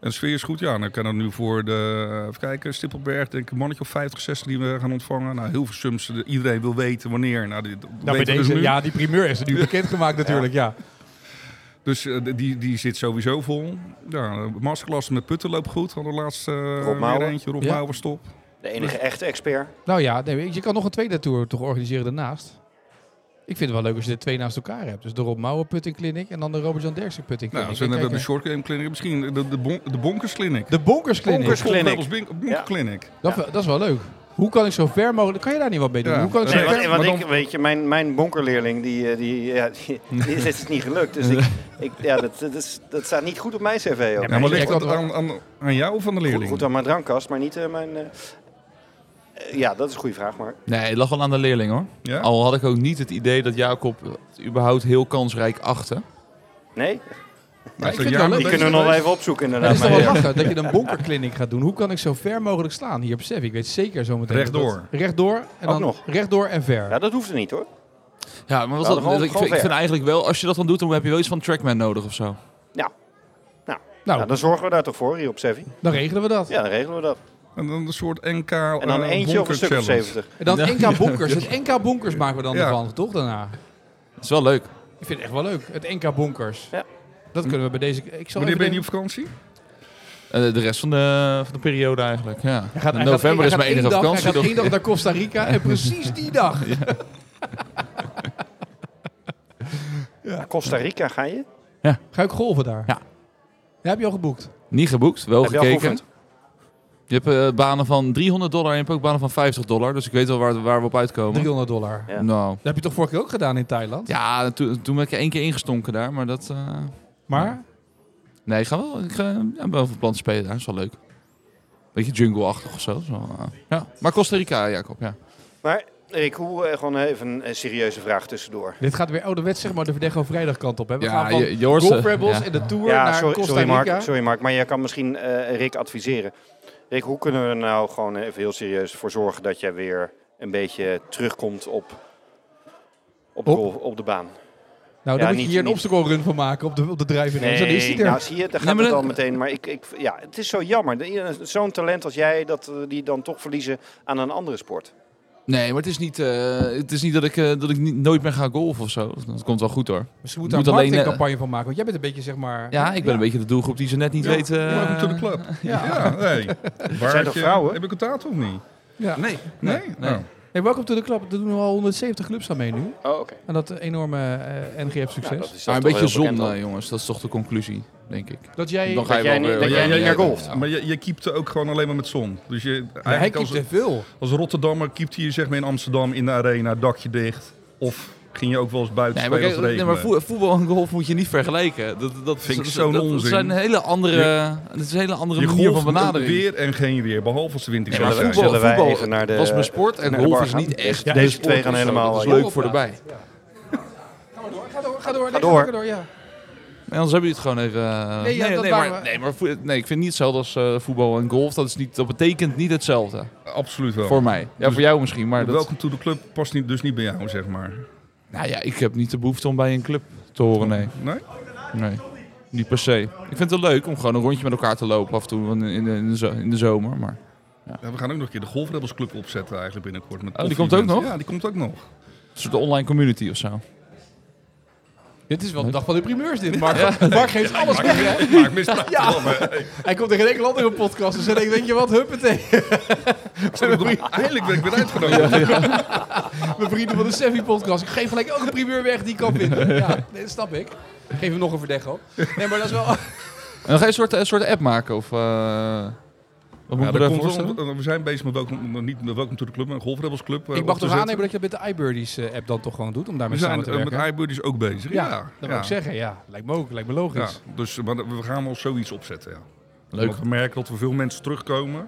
Speaker 3: En de sfeer is goed. Ja, en dan kan er nu voor de, eh, even kijken, Stippelberg, denk ik, een mannetje of 50, 60 die we gaan ontvangen. Nou, heel veel sums. eh, Iedereen wil weten wanneer. Nou, dit,
Speaker 2: Nou, bij
Speaker 3: weten we dus
Speaker 2: deze,
Speaker 3: nu.
Speaker 2: ja, die primeur is er nu bekendgemaakt natuurlijk, ja.
Speaker 3: Dus eh, die, die zit sowieso vol. Ja, eh, masterclass met putten loopt goed. Hadden we laatst eh weer
Speaker 1: Mouwen.
Speaker 3: eentje. Rob
Speaker 2: Ja.
Speaker 3: Mouwen stop.
Speaker 1: De enige echte expert.
Speaker 2: Nou ja, nee, je kan nog een tweede tour toch organiseren daarnaast. Ik vind het wel leuk als je de twee naast elkaar hebt. Dus de Rob Mouwen Putting Clinic en dan de Robert-Jan Derksen Putting
Speaker 3: Nou,
Speaker 2: Clinic.
Speaker 3: we zijn- we
Speaker 2: En
Speaker 3: hebben een
Speaker 2: kijken-
Speaker 3: short game clinic. Misschien de, de, bon, de Bonkers Clinic.
Speaker 2: de Bonkers Clinic.
Speaker 1: Bonkers Clinic.
Speaker 3: Bonkers Bonkers Clinic.
Speaker 2: Dat, dat is wel leuk. Hoe kan ik zo ver mogelijk... Kan je daar niet wat mee doen?
Speaker 3: Ja.
Speaker 2: Hoe kan ik zo
Speaker 1: Nee,
Speaker 3: Nee,
Speaker 2: ver...
Speaker 1: want,
Speaker 3: maar
Speaker 1: want
Speaker 3: dan-
Speaker 1: ik, weet je, mijn, mijn bonkerleerling, die, eh, die, ja, die, die is het niet gelukt. Dus ik, ik, ja, dat, dat, is, dat staat niet goed op mijn cv ook.
Speaker 3: Ja, maar
Speaker 2: jij
Speaker 3: ligt
Speaker 2: kan
Speaker 3: dat
Speaker 2: wel-
Speaker 3: aan, aan, aan jou of aan de
Speaker 1: goed,
Speaker 3: leerling?
Speaker 1: goed aan mijn drankkast, maar niet eh, mijn... eh, eh, ja, dat is een goede vraag, maar...
Speaker 4: Nee, het lag wel aan de leerling hoor.
Speaker 3: Ja?
Speaker 4: Al had ik ook niet het idee dat Jacob het überhaupt heel kansrijk achtte.
Speaker 1: Nee,
Speaker 2: Oh,
Speaker 3: Maar
Speaker 2: ik
Speaker 3: zo'n
Speaker 2: vind het
Speaker 3: jaar
Speaker 2: wel
Speaker 1: die
Speaker 2: leuk.
Speaker 3: bezig
Speaker 1: kunnen we nog wel
Speaker 3: geweest.
Speaker 1: even opzoeken
Speaker 2: Dat
Speaker 1: inderdaad.
Speaker 2: is toch
Speaker 1: maar,
Speaker 2: wel
Speaker 1: eh,
Speaker 2: lachen dat je een bonkerkliniek gaat doen. Hoe kan ik zo ver mogelijk slaan hier op Sef? Ik weet zeker zo meteen. dat dat-
Speaker 3: Rechtdoor.
Speaker 2: Rechtdoor en
Speaker 1: Ook
Speaker 2: dan
Speaker 1: nog.
Speaker 2: rechtdoor en ver.
Speaker 1: ja, dat hoeft er niet hoor.
Speaker 4: Ja, maar was
Speaker 1: Nou,
Speaker 4: dat,
Speaker 1: gewoon-
Speaker 4: ik,
Speaker 1: gewoon
Speaker 4: vind, ik
Speaker 1: ver.
Speaker 4: vind eigenlijk wel, als je dat dan doet, dan heb je wel iets van Trackman nodig of zo.
Speaker 2: nou,
Speaker 1: Ja, dan zorgen we daar toch voor hier op Sevi.
Speaker 2: dan regelen we dat.
Speaker 1: Ja, dan regelen we dat.
Speaker 2: Oh,
Speaker 3: En dan een soort eh, NK.
Speaker 1: En
Speaker 2: eh,
Speaker 1: dan eentje of een stuk of 70.
Speaker 2: En dan
Speaker 4: Ja.
Speaker 2: NK Bonkers. Het NK Bonkers maken we dan
Speaker 3: Ja.
Speaker 2: ervan, toch? Daarna.
Speaker 4: Dat is wel leuk.
Speaker 2: Ik vind het echt wel leuk. Het NK Bonkers.
Speaker 1: Ja.
Speaker 2: Dat kunnen we bij deze... Ik zal
Speaker 3: Wanneer
Speaker 2: even
Speaker 3: ben je
Speaker 2: denken-
Speaker 3: niet op vakantie?
Speaker 4: Eh, de rest van de, van de periode eigenlijk. Ja.
Speaker 2: Hij gaat- hij gaat-
Speaker 4: november
Speaker 2: hij
Speaker 4: is
Speaker 2: gaat
Speaker 4: mijn
Speaker 2: één
Speaker 4: enige
Speaker 2: dag-
Speaker 4: vakantie.
Speaker 2: Hij gaat
Speaker 4: toch?
Speaker 2: één dag naar Costa Rica en precies die dag.
Speaker 1: Costa Rica ga je?
Speaker 2: Ga ik golven daar?
Speaker 4: Ja.
Speaker 2: Ja, heb je al geboekt?
Speaker 4: Niet geboekt, wel
Speaker 1: Heb je al
Speaker 4: gekeken.
Speaker 1: geoefend?
Speaker 4: Je hebt eh, banen van 300 dollar en je hebt ook banen van 50 dollar. Dus ik weet wel waar, waar we op uitkomen.
Speaker 2: 300 dollar.
Speaker 1: Ja.
Speaker 4: Nou.
Speaker 2: Dat heb je toch vorige keer ook gedaan in Thailand?
Speaker 4: Ja, toen, toen ben ik één keer ingestonken daar. Maar dat... eh,
Speaker 2: Maar?
Speaker 4: Nee, ik ga wel. Ik ga, ja, ik ben wel van plan te spelen. Dat is wel leuk. Beetje jungle-achtig of zo. Dat is wel, eh, ja. Maar Costa Rica, Jacob. Ja.
Speaker 1: Maar Erik, hoe, eh, gewoon even een eh, serieuze vraag tussendoor.
Speaker 2: Dit gaat weer ouderwets, zeg maar, de Verdecho vrijdag kant op. Hè? We
Speaker 4: Ja,
Speaker 2: gaan van
Speaker 4: je- je hoort
Speaker 2: Golf
Speaker 4: ze.
Speaker 2: Rebels
Speaker 4: Ja.
Speaker 2: en de Tour
Speaker 1: Ja,
Speaker 2: naar
Speaker 1: sorry,
Speaker 2: Costa
Speaker 1: sorry,
Speaker 2: Rica.
Speaker 1: Mark, sorry Mark, maar jij kan misschien eh, Rick adviseren. Rick, hoe kunnen we er nou gewoon even heel serieus voor zorgen dat jij weer een beetje terugkomt op, op, de,
Speaker 2: Op?
Speaker 1: golf- op de baan?
Speaker 2: Nou,
Speaker 1: Ja,
Speaker 2: daar
Speaker 1: niet-
Speaker 2: moet je hier een
Speaker 1: niet-
Speaker 2: obstacle run van maken op de, op de drijving. Zo, dan is hij er.
Speaker 1: nou zie je, daar gaat
Speaker 4: maar
Speaker 1: het
Speaker 4: dat-
Speaker 1: al meteen. Maar ik, ik, ja, het is zo jammer. De- ja, Zo'n talent als jij, dat eh, die dan toch verliezen aan een andere sport.
Speaker 4: Nee, maar het is niet, eh, het is niet dat ik, eh, dat ik niet, nooit meer ga golfen of zo. Dat komt wel goed hoor.
Speaker 2: Misschien moet
Speaker 4: Je
Speaker 2: daar een
Speaker 4: moet alleen, eh,
Speaker 2: marketingcampagne van maken. Want jij bent een beetje, zeg maar...
Speaker 4: Ja, ik ben een beetje de doelgroep die ze net niet
Speaker 3: Ja,
Speaker 4: weet. eh,
Speaker 3: Welcome to the club. Ja, nee. Waar
Speaker 1: zijn
Speaker 3: heb
Speaker 1: toch
Speaker 3: je-
Speaker 1: vrouwen?
Speaker 3: Heb ik het taart of niet?
Speaker 2: Ja.
Speaker 3: Nee. Nee? Nou,
Speaker 2: Hey, welkom to the club. Er doen al 170 clubs aan mee nu.
Speaker 1: Oh, oké.
Speaker 2: Aan dat enorme eh, NGF-succes. dat,
Speaker 4: Maar een beetje zonde, jongens. Dat is toch de conclusie, denk ik.
Speaker 2: jij...
Speaker 4: Dan ga je
Speaker 1: jij
Speaker 4: wel
Speaker 1: niet-
Speaker 4: weer.
Speaker 1: dat
Speaker 4: ja,
Speaker 1: jij
Speaker 4: ja,
Speaker 1: niet
Speaker 4: ja,
Speaker 1: naar
Speaker 4: ja,
Speaker 1: golft.
Speaker 4: ja.
Speaker 3: Maar je, je keept ook gewoon alleen maar met zon. Dus je,
Speaker 2: Nee, hij
Speaker 3: eigenlijk
Speaker 2: kiept
Speaker 3: als,
Speaker 2: te veel.
Speaker 3: als Rotterdammer keept hier zeg maar in Amsterdam in de arena, dakje dicht. Of ging je ook wel eens buiten
Speaker 4: Nee, maar,
Speaker 3: spelen
Speaker 4: kijk,
Speaker 3: als het
Speaker 4: nee,
Speaker 3: regende?
Speaker 4: maar voe- voetbal en golf moet je niet vergelijken. Dat, dat
Speaker 3: Vind ik
Speaker 4: dat-
Speaker 3: zo'n
Speaker 4: dat- Dat
Speaker 3: onzin.
Speaker 4: zijn hele andere, dat is een hele andere
Speaker 3: je
Speaker 4: manier van
Speaker 3: golft met
Speaker 4: benadering.
Speaker 3: weer en geen weer, behalve als de winter
Speaker 4: Nee, maar
Speaker 1: Zullen wij-
Speaker 4: voetbal,
Speaker 1: zullen wij
Speaker 4: voetbal
Speaker 1: even naar de-
Speaker 4: was mijn sport en
Speaker 1: naar de
Speaker 4: golf
Speaker 1: bar
Speaker 4: is
Speaker 1: gaan?
Speaker 4: niet echt.
Speaker 1: Ja,
Speaker 4: de
Speaker 1: deze
Speaker 4: sport
Speaker 1: twee gaan
Speaker 4: of zo.
Speaker 1: helemaal,
Speaker 4: Dat is
Speaker 1: ja.
Speaker 4: leuk voor erbij.
Speaker 2: Ga maar door, ga door, ga door. Nee,
Speaker 1: door.
Speaker 2: ga door, ja.
Speaker 4: Nee, anders hebben jullie het gewoon even. eh,
Speaker 2: Nee, ja, dat
Speaker 4: nee,
Speaker 2: waren
Speaker 4: maar,
Speaker 2: we.
Speaker 4: nee, maar voe- nee, ik vind het niet hetzelfde als eh, voetbal en golf. Dat, is niet, dat betekent niet hetzelfde.
Speaker 3: Absoluut wel.
Speaker 4: Voor mij. Ja,
Speaker 3: Dus-
Speaker 4: voor jou misschien. Maar dat,
Speaker 3: Welcome to the club past niet, dus niet bij jou, zeg maar.
Speaker 4: nou ja, ik heb niet de behoefte om bij een club te horen. Nee.
Speaker 3: Nee?
Speaker 4: nee. Niet per se. Ik vind het wel leuk om gewoon een rondje met elkaar te lopen af en toe in, in, in, de, zo- in de zomer. Maar
Speaker 3: Ja, we gaan ook nog een keer de Golfrebels Club opzetten eigenlijk binnenkort. Met
Speaker 4: Oh, die
Speaker 3: koffie
Speaker 4: komt ook
Speaker 3: event.
Speaker 4: nog?
Speaker 3: Ja, die komt ook nog.
Speaker 4: een soort online community of zo.
Speaker 2: Dit is wel de dag van de primeurs, dit. Mark, Mark geeft alles weg, hè?
Speaker 3: Maar ik mis het wel, maar, hey,
Speaker 2: Hij komt in geen enkel andere podcast. Dus dan denk ik, weet je wat, huppatee.
Speaker 3: Eindelijk ben ik weer uitgenodigd.
Speaker 2: Mijn vrienden van de Sevi podcast. Ik geef gelijk ook een primeur weg die ik kan vinden. Ja, dat snap ik. Geef hem nog een verdecho. Nee, maar dat is wel...
Speaker 4: En dan ga je een soort, een soort app maken of... eh wat moet
Speaker 3: Ja,
Speaker 4: ik me
Speaker 3: dat
Speaker 4: daar
Speaker 3: komt
Speaker 4: voorstellen?
Speaker 3: wel, we zijn bezig met welkom, niet met welkom to the club, maar een Golfrebels Club. eh,
Speaker 2: Ik mag
Speaker 3: op te
Speaker 2: toch
Speaker 3: zetten.
Speaker 2: aannemen dat je dat met de iBirdies eh, app dan toch gewoon doet, om
Speaker 3: We
Speaker 2: daarmee samen
Speaker 3: zijn
Speaker 2: te
Speaker 3: eh,
Speaker 2: werken?
Speaker 3: met iBuddies ook bezig. Ja,
Speaker 2: dat wil ik zeggen, ja. Lijkt me ook, lijkt me
Speaker 3: Ja,
Speaker 2: logisch.
Speaker 3: dus eh, maar we gaan wel zoiets opzetten. Ja.
Speaker 4: Leuk.
Speaker 3: Want we merken dat er veel mensen terugkomen.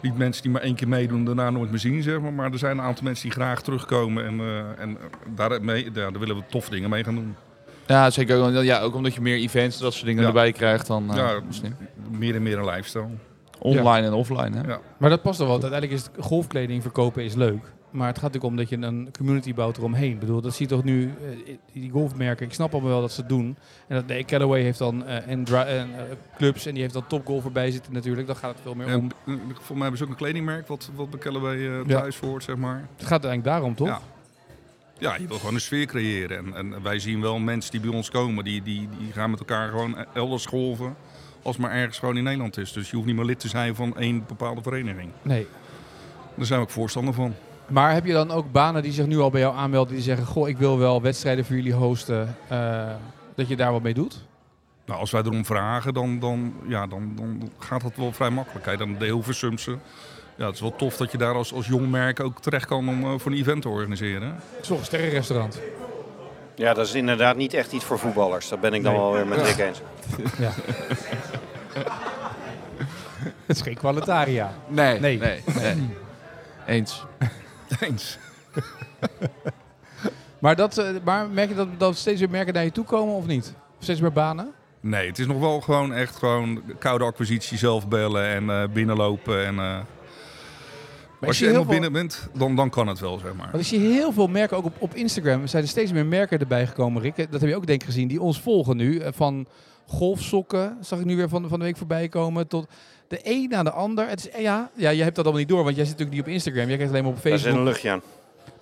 Speaker 3: Niet mensen die maar één keer meedoen en daarna nooit meer zien, zeg maar. Maar er zijn een aantal mensen die graag terugkomen. En, eh, en daarmee, ja, daar willen we toffe dingen mee gaan doen.
Speaker 4: Ja, zeker. ook- Ja, ook omdat je meer events en dat soort dingen
Speaker 3: Ja.
Speaker 4: erbij krijgt dan eh,
Speaker 3: Ja.
Speaker 4: misschien
Speaker 3: Meer en meer een lifestyle.
Speaker 4: online en offline. Hè?
Speaker 3: Ja.
Speaker 2: Maar dat past wel, want uiteindelijk is het- golfkleding verkopen is leuk. Maar het gaat natuurlijk om dat je een community bouwt eromheen. Ik bedoel, dat zie je toch nu, eh, die golfmerken, ik snap allemaal wel dat ze het doen. En dat, nee, Callaway heeft dan eh, en, dra- en, eh, clubs en die heeft dan topgolf erbij zitten natuurlijk. Dan gaat het veel meer om.
Speaker 3: En, eh, voor mij hebben ze ook een kledingmerk wat, wat bij Callaway eh,
Speaker 2: Ja.
Speaker 3: thuis hoort, zeg maar.
Speaker 2: Het gaat uiteindelijk daarom, toch?
Speaker 3: Ja. Ja, je wil gewoon een sfeer creëren. En, en wij zien wel mensen die bij ons komen, die, die, die gaan met elkaar gewoon elders golven. Als maar ergens gewoon in Nederland is. Dus je hoeft niet meer lid te zijn van één bepaalde vereniging.
Speaker 2: Nee.
Speaker 3: Daar zijn we ook voorstander van.
Speaker 2: Maar heb je dan ook banen die zich nu al bij jou aanmelden, die zeggen, goh, ik wil wel wedstrijden voor jullie hosten, eh, dat je daar wat mee doet?
Speaker 3: Nou, als wij erom vragen, dan, dan, ja, dan, dan gaat dat wel vrij makkelijk. Hè. Dan de Hilversumse. Ja, het is wel tof dat je daar als, als jong merk ook terecht kan om eh, voor een event te organiseren.
Speaker 2: Zo'n sterrenrestaurant.
Speaker 1: Ja, dat is inderdaad niet echt iets voor voetballers. Dat ben ik dan
Speaker 2: Nee.
Speaker 1: wel weer met Rick eens.
Speaker 2: Het is geen kwalitaria.
Speaker 4: Nee,
Speaker 2: Nee.
Speaker 4: nee. nee, Eens.
Speaker 3: Eens.
Speaker 2: Maar, dat, eh, maar merk je dat, dat steeds meer merken naar je toe komen of niet? Of steeds meer banen?
Speaker 3: Nee, het is nog wel gewoon echt gewoon koude acquisitie, zelf bellen en eh, binnenlopen. En, eh,
Speaker 2: Maar ik
Speaker 3: als je
Speaker 2: zie heel
Speaker 3: helemaal
Speaker 2: veel,
Speaker 3: binnen bent, dan, dan kan het wel, zeg maar.
Speaker 2: Want ik zie heel veel merken, ook op, op Instagram, er zijn er steeds meer merken erbij gekomen, Rick. Dat heb je ook denk ik gezien, die ons volgen nu. Eh, Van golfsokken, zag ik nu weer van, van de week voorbij komen, tot de een naar de ander. Het is, eh, ja, ja, je hebt dat allemaal niet door, want jij zit natuurlijk niet op Instagram. Jij kijkt alleen maar op
Speaker 1: Daar zit
Speaker 2: Facebook.
Speaker 1: een luchtje aan.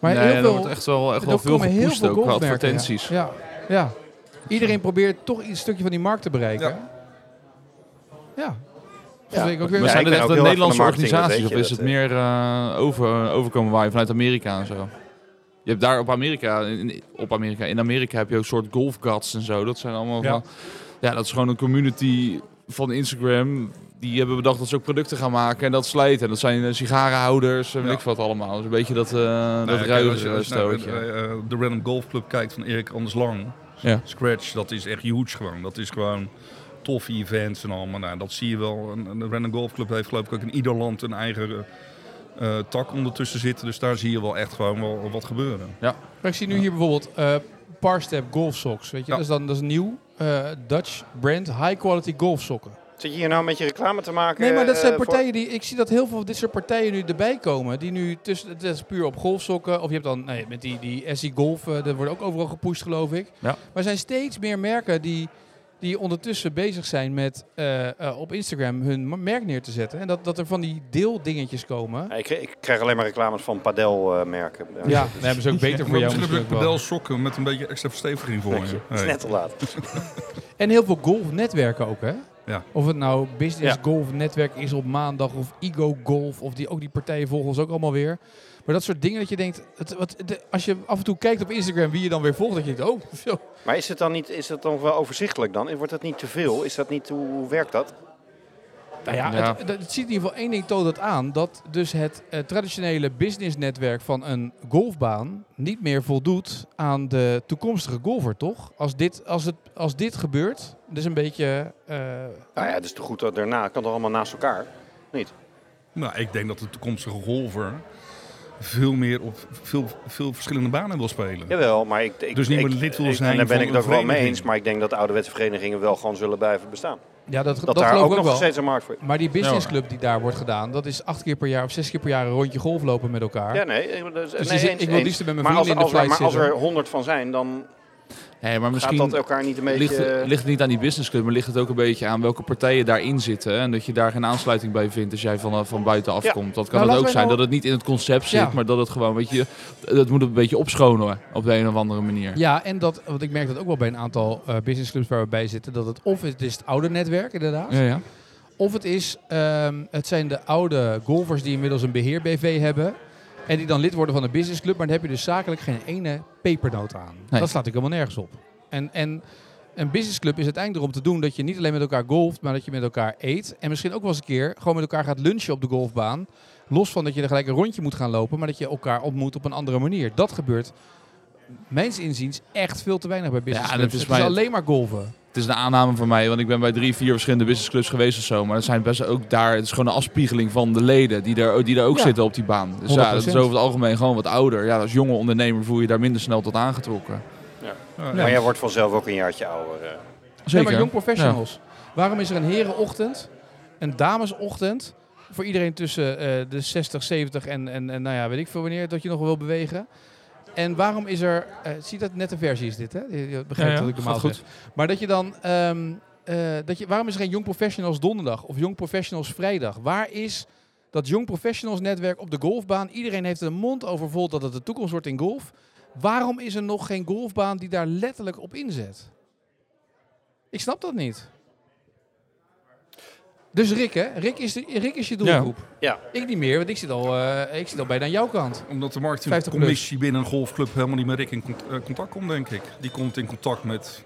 Speaker 2: Maar
Speaker 4: nee,
Speaker 2: heel
Speaker 4: er
Speaker 2: veel,
Speaker 4: wordt echt wel, echt
Speaker 2: er
Speaker 4: wel veel
Speaker 2: komen heel
Speaker 4: gepusht
Speaker 2: veel
Speaker 4: ook qua
Speaker 2: golfmerken, ja.
Speaker 4: advertenties.
Speaker 2: Ja. ja, Iedereen probeert toch een stukje van die markt te bereiken. Ja. ja. Dus denk ik ook weer-
Speaker 4: Maar
Speaker 1: Ja,
Speaker 4: zijn
Speaker 1: ik ben ook
Speaker 4: dit echt een
Speaker 1: heel erg van de
Speaker 4: Nederlandse
Speaker 1: marketing, dat
Speaker 4: organisatie of
Speaker 1: weet je,
Speaker 4: is het
Speaker 1: dat,
Speaker 4: meer eh, over, overkomen waaien vanuit Amerika en zo? Je hebt daar op Amerika, in- in, op Amerika, in Amerika heb je ook soort golf gods en zo. Dat zijn allemaal
Speaker 2: Ja.
Speaker 4: van, ja, dat is gewoon een community van Instagram, die hebben bedacht dat ze ook producten gaan maken en dat slijten. En dat zijn eh, sigarenhouders en weet
Speaker 3: Ja.
Speaker 4: ik veel wat allemaal. Dus een beetje dat, eh
Speaker 3: Nou
Speaker 4: dat
Speaker 3: ja, kijk, als je-
Speaker 4: ruige
Speaker 3: als je nou
Speaker 4: stootje.
Speaker 3: bij, eh, de Random Golf Club kijkt van Erik Anders Lang.
Speaker 4: Ja.
Speaker 3: Scratch, dat is echt huge gewoon. Dat is gewoon toffe events en allemaal. Nou, dat zie je wel. En- en De Random Golf Club heeft geloof ik ook in ieder land een eigen eh, eh, tak ondertussen zitten. Dus daar zie je wel echt gewoon wel wat gebeuren.
Speaker 2: Maar ik zie nu hier bijvoorbeeld eh Parstep golf socks. Weet je,
Speaker 3: Ja.
Speaker 2: dat is dan dat is een nieuw eh, Dutch brand high quality golf sokken.
Speaker 1: Zit je hier nou met je reclame te maken?
Speaker 2: Nee, maar dat
Speaker 1: eh,
Speaker 2: zijn
Speaker 1: voor-
Speaker 2: partijen die. Ik zie dat heel veel van dit soort partijen nu erbij komen. Die nu tussen. Dat is puur op golfsokken. Of je hebt dan. Nee, met die, die SE Golf. eh, daar wordt ook overal gepusht, geloof ik.
Speaker 4: Ja.
Speaker 2: Maar er zijn steeds meer merken die. Die ondertussen bezig zijn met eh, eh, op Instagram hun ma- merk neer te zetten. En dat, dat er van die deeldingetjes komen.
Speaker 1: Ja, ik, kreeg- ik krijg alleen maar reclames van padelmerken. merken.
Speaker 2: Ja, daar hebben ze ook beter voor
Speaker 3: Maar
Speaker 2: jou
Speaker 3: misschien heb
Speaker 2: misschien
Speaker 3: ik
Speaker 2: ook wel.
Speaker 3: pedel sokken met een beetje extra versteviging voor
Speaker 1: Dank je.
Speaker 3: je.
Speaker 1: Het is
Speaker 3: Hey.
Speaker 1: net te laat.
Speaker 2: En heel veel golfnetwerken ook, hè?
Speaker 3: Ja.
Speaker 2: Of het nou Business
Speaker 1: Ja.
Speaker 2: Golf Netwerk is op maandag, of Ego Golf, of die, ook die partijen volgen ons ook allemaal weer. Maar dat soort dingen dat je denkt, het, wat, de- als je af en toe kijkt op Instagram wie je dan weer volgt, dat je denkt, oh, zo.
Speaker 1: Maar is het dan niet, is dat dan wel overzichtelijk dan? Wordt dat niet te veel? Is dat niet, hoe hoe werkt dat?
Speaker 2: Nou ja,
Speaker 4: Ja.
Speaker 2: Het, dat- het ziet in ieder geval één ding toont het aan, dat dus het eh, traditionele businessnetwerk van een golfbaan niet meer voldoet aan de toekomstige golfer, toch? Als dit, als het, als dit gebeurt, dus een beetje... eh,
Speaker 1: Nou ja, het is toch goed dat daarna, het kan toch allemaal naast elkaar?
Speaker 3: Nou, ik denk dat de toekomstige golfer veel meer op veel, veel verschillende banen wil spelen.
Speaker 1: Jawel, maar ik... ik
Speaker 3: Dus niet
Speaker 1: ik-
Speaker 3: meer lid wil
Speaker 1: ik-
Speaker 3: zijn
Speaker 1: En daar ben
Speaker 3: van
Speaker 1: ik
Speaker 3: een
Speaker 1: het ook wel mee
Speaker 3: vereniging.
Speaker 1: eens. Maar ik denk dat de ouderwetse verenigingen wel gewoon zullen blijven bestaan.
Speaker 2: ja, dat, dat,
Speaker 1: Dat, daar
Speaker 2: geloof
Speaker 1: ook
Speaker 2: ik
Speaker 1: nog
Speaker 2: ook wel.
Speaker 1: steeds een markt voor is.
Speaker 2: Maar die businessclub die daar wordt gedaan, dat is acht keer per jaar of zes keer per jaar een rondje golf lopen met elkaar.
Speaker 1: Ja, nee. ik- Dus,
Speaker 2: dus
Speaker 1: nee,
Speaker 2: die zit-
Speaker 1: eens-
Speaker 2: ik wil
Speaker 1: eens.
Speaker 2: liefst met mijn
Speaker 1: Maar als,
Speaker 2: vrienden in de
Speaker 1: als, er,
Speaker 2: flight
Speaker 1: maar als er
Speaker 2: zitten.
Speaker 1: 100 van zijn, dan
Speaker 4: Hey, maar
Speaker 1: gaat
Speaker 4: misschien
Speaker 1: dat elkaar niet een
Speaker 4: ligt,
Speaker 1: beetje...
Speaker 4: ligt het niet aan die businessclub, maar ligt het ook een beetje aan welke partijen daarin zitten. En dat je daar geen aansluiting bij vindt als jij van, eh, van buitenaf
Speaker 1: Ja.
Speaker 4: komt. Dat kan
Speaker 2: Nou,
Speaker 4: het
Speaker 2: laten
Speaker 4: ook
Speaker 2: wij
Speaker 4: zijn
Speaker 2: nou-
Speaker 4: dat het niet in het concept zit,
Speaker 2: Ja.
Speaker 4: maar dat het gewoon, weet je, dat moet een beetje opschonen op de een of andere manier.
Speaker 2: Ja, en dat, want ik merk dat ook wel bij een aantal eh, businessclubs waar we bij zitten, dat het of het is het oude netwerk inderdaad,
Speaker 4: Ja, ja.
Speaker 2: of het, is, ehm, het zijn de oude golfers die inmiddels een beheer-BV hebben en die dan lid worden van een businessclub, maar dan heb je dus zakelijk geen ene pepernoot aan.
Speaker 4: Nee.
Speaker 2: Dat slaat ik helemaal nergens op. En, en een businessclub is uiteindelijk erom te doen dat je niet alleen met elkaar golft, maar dat je met elkaar eet. En misschien ook wel eens een keer gewoon met elkaar gaat lunchen op de golfbaan. Los van dat je er gelijk een rondje moet gaan lopen, maar dat je elkaar ontmoet op een andere manier. Dat gebeurt, mijns inziens, echt veel te weinig bij
Speaker 4: Ja,
Speaker 2: businessclubs.
Speaker 4: dat is
Speaker 2: het
Speaker 4: mij-
Speaker 2: is alleen maar golven.
Speaker 4: Het is een aanname van mij, want ik ben bij drie, vier verschillende businessclubs geweest of zo. Maar dat zijn best ook daar, het is gewoon een afspiegeling van de leden die daar, die daar ook
Speaker 2: Ja.
Speaker 4: zitten op die baan. Dus ja, dat is
Speaker 2: 100%.
Speaker 4: over het algemeen gewoon wat ouder. Ja, als jonge ondernemer voel je je daar minder snel tot aangetrokken.
Speaker 3: Ja,
Speaker 1: Maar jij wordt vanzelf ook een jaartje ouder. eh.
Speaker 2: Nee,
Speaker 4: Zeker.
Speaker 2: maar jong professionals. Waarom is er een herenochtend, een damesochtend, voor iedereen tussen eh, de 60, 70 en, en, en nou ja, weet ik veel wanneer, dat je nog wel wil bewegen. En waarom is er, eh, zie dat net een versie is dit hè? Je, je begrijpt
Speaker 4: Ja, ja,
Speaker 2: dat ik normaal
Speaker 4: gaat goed.
Speaker 2: goed. Maar dat je dan, ehm, eh, dat je, waarom is er geen jong professionals donderdag of jong professionals vrijdag? Waar is dat jong professionals netwerk op de golfbaan? Iedereen heeft er een mond over vol dat het de toekomst wordt in golf. Waarom is er nog geen golfbaan die daar letterlijk op inzet? Ik snap dat niet. Dus Rick, hè? Rick is, de, Rick is je doelgroep.
Speaker 1: Ja.
Speaker 2: Ik niet meer, want ik zit al, eh, ik zit al bijna aan jouw kant.
Speaker 3: Omdat de
Speaker 2: 50
Speaker 3: marketingcommissie binnen een golfclub helemaal niet met Rick in cont- eh, contact komt, denk ik. Die komt in contact met...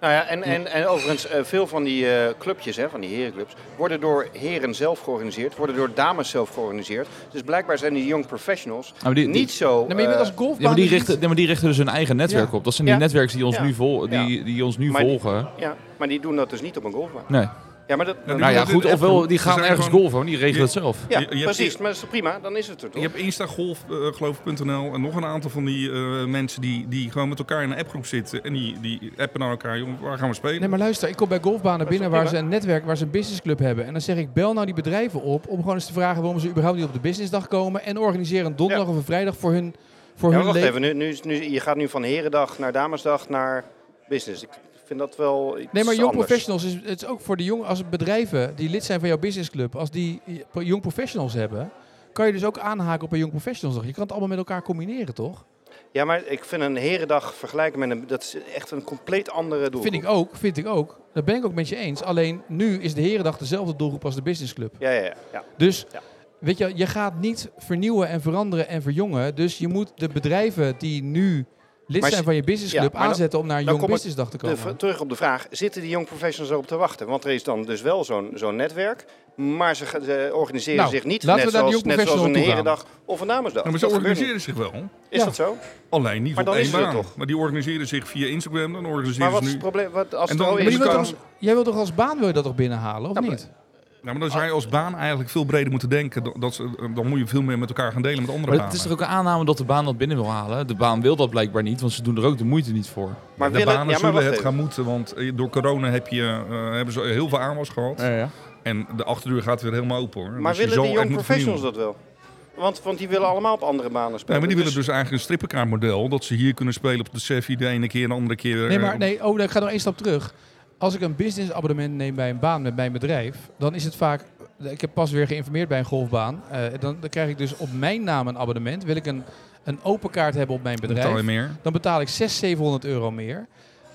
Speaker 1: Nou ja, en, en, en overigens, eh, veel van die eh, clubjes, hè, van die herenclubs, worden door heren zelf georganiseerd, worden door dames zelf georganiseerd. Dus blijkbaar zijn die young professionals
Speaker 4: maar die- die-
Speaker 1: niet zo.
Speaker 2: Nou, maar je bent
Speaker 1: eh,
Speaker 2: als
Speaker 4: Ja, maar
Speaker 2: golfbaan...
Speaker 4: die
Speaker 2: niet-
Speaker 4: richten, nee, maar die richten dus hun eigen netwerk
Speaker 2: Ja.
Speaker 4: op. Dat zijn die
Speaker 1: Ja.
Speaker 4: netwerks die ons
Speaker 1: Ja.
Speaker 4: nu, vol, die, die ons nu
Speaker 1: Maar die-
Speaker 4: volgen.
Speaker 1: ja, maar die doen dat dus niet op een golfbaan.
Speaker 4: Nee.
Speaker 1: Ja, maar dat.
Speaker 3: Nou
Speaker 4: Nou ja,
Speaker 3: dat
Speaker 4: goed.
Speaker 3: in de
Speaker 4: Ofwel,
Speaker 3: appgroep.
Speaker 4: die
Speaker 3: Er
Speaker 4: gaan
Speaker 3: zijn
Speaker 4: ergens
Speaker 3: gewoon-
Speaker 4: golven, maar die regelen het zelf.
Speaker 1: ja,
Speaker 3: je- je hebt
Speaker 1: precies.
Speaker 3: die-
Speaker 1: Maar dat is prima, dan is het er toch?
Speaker 3: Je hebt Instagolf, eh geloof ik, .nl en nog een aantal van die eh, mensen die, die gewoon met elkaar in een appgroep zitten. En die, die appen naar elkaar, jongen, waar gaan we spelen?
Speaker 2: Nee, maar luister, ik kom bij golfbanen
Speaker 1: is
Speaker 2: binnen
Speaker 1: toch
Speaker 2: waar ze
Speaker 1: prima?
Speaker 2: een netwerk, waar ze een businessclub hebben. En dan zeg ik, bel nou die bedrijven op om gewoon eens te vragen waarom ze überhaupt niet op de businessdag komen. En organiseer een donderdag of een vrijdag voor hun, voor
Speaker 1: Ja, maar
Speaker 2: hun
Speaker 1: wacht
Speaker 2: leven.
Speaker 1: even, nu, nu, is- nu, je gaat nu van herendag naar damesdag naar business. Ik vind dat wel. Iets
Speaker 2: Nee, maar jong
Speaker 1: anders.
Speaker 2: professionals is, het is ook voor de jong, als bedrijven die lid zijn van jouw businessclub, als die jong professionals hebben, kan je dus ook aanhaken op een jong professionals dag. Je kan het allemaal met elkaar combineren, toch?
Speaker 1: Ja, maar ik vind een herendag vergelijken met een. Dat is echt een compleet andere doel.
Speaker 2: Vind ik ook, vind ik ook. Dat ben ik ook met je eens. Alleen nu is de herendag dezelfde doelgroep als de businessclub.
Speaker 1: Ja, ja, ja. ja.
Speaker 2: Dus
Speaker 1: Ja.
Speaker 2: weet je, je gaat niet vernieuwen en veranderen en verjongen. Dus je moet de bedrijven die nu lid
Speaker 1: Maar
Speaker 2: zijn
Speaker 1: ze-
Speaker 2: van je businessclub
Speaker 1: ja, maar dan-
Speaker 2: aanzetten om naar een
Speaker 1: dan
Speaker 2: Young
Speaker 1: kom ik-
Speaker 2: Business Dag te
Speaker 1: De v-
Speaker 2: komen.
Speaker 1: terug op de vraag, zitten die jong professionals erop te wachten? Want er is dan dus wel zo'n zo'n netwerk, maar ze, ga- ze organiseren
Speaker 2: Nou,
Speaker 1: zich niet.
Speaker 2: laten
Speaker 1: Net
Speaker 2: we naar de
Speaker 1: zoals,
Speaker 2: Young
Speaker 1: net zoals een
Speaker 2: Professional toe gaan.
Speaker 1: herendag of een damesdag.
Speaker 3: Ja, maar ze
Speaker 1: Dat gebeurt niet.
Speaker 3: organiseren zich wel.
Speaker 1: Is
Speaker 2: Ja.
Speaker 1: dat zo?
Speaker 3: Alleen niet
Speaker 1: Maar
Speaker 3: op
Speaker 1: dan
Speaker 3: één
Speaker 1: is het er
Speaker 3: baan.
Speaker 1: toch?
Speaker 3: Maar die organiseren zich via Instagram. Dan
Speaker 1: Maar
Speaker 3: organiseren
Speaker 1: wat
Speaker 3: ze
Speaker 1: is
Speaker 3: nu...
Speaker 1: het probleem? Wat, als
Speaker 3: En
Speaker 1: het
Speaker 3: dan-
Speaker 1: al is,
Speaker 2: Maar
Speaker 3: maar
Speaker 2: je
Speaker 1: kan-
Speaker 3: die
Speaker 2: wilt
Speaker 3: kan-
Speaker 2: toch als, jij wilt toch als baan wil je dat toch binnenhalen, of
Speaker 1: Ja, maar-
Speaker 2: niet?
Speaker 3: Ja, Nou, maar dan zou je als baan eigenlijk veel breder moeten denken. Dan, dat ze, dan moet je veel meer met elkaar gaan delen met andere
Speaker 4: Maar het
Speaker 3: banen.
Speaker 4: is toch ook een aanname dat de baan dat binnen wil halen? De baan wil dat blijkbaar niet, want ze doen er ook de moeite niet voor.
Speaker 1: maar
Speaker 3: de
Speaker 1: willen,
Speaker 3: banen
Speaker 1: ja, maar
Speaker 3: zullen
Speaker 1: wacht
Speaker 3: het
Speaker 1: even.
Speaker 3: gaan moeten, want eh, door corona heb je, eh, hebben ze heel veel aanwas gehad.
Speaker 4: ja.
Speaker 3: En de achterdeur gaat weer helemaal open hoor.
Speaker 1: Maar
Speaker 3: Dus je
Speaker 1: willen
Speaker 3: zal
Speaker 1: die
Speaker 3: echt
Speaker 1: young
Speaker 3: moeten
Speaker 1: professionals
Speaker 3: vernieuwen.
Speaker 1: dat wel? Want, want die willen allemaal op andere banen
Speaker 3: Nee,
Speaker 1: spelen.
Speaker 3: maar die willen dus eigenlijk een strippenkaartmodel. Dat ze hier kunnen spelen op de Seffi de ene keer, de andere keer.
Speaker 2: Nee,
Speaker 3: eh,
Speaker 2: maar nee, oh, nee, ik ga nog één stap terug. Als ik een business abonnement neem bij een baan met mijn bedrijf, dan is het vaak. Ik heb pas weer geïnformeerd bij een golfbaan. eh, dan, dan krijg ik dus op mijn naam een abonnement. Wil ik een, een open kaart hebben op mijn
Speaker 3: dan betaal je
Speaker 2: bedrijf,
Speaker 3: meer.
Speaker 2: dan betaal ik 600, 700 euro meer.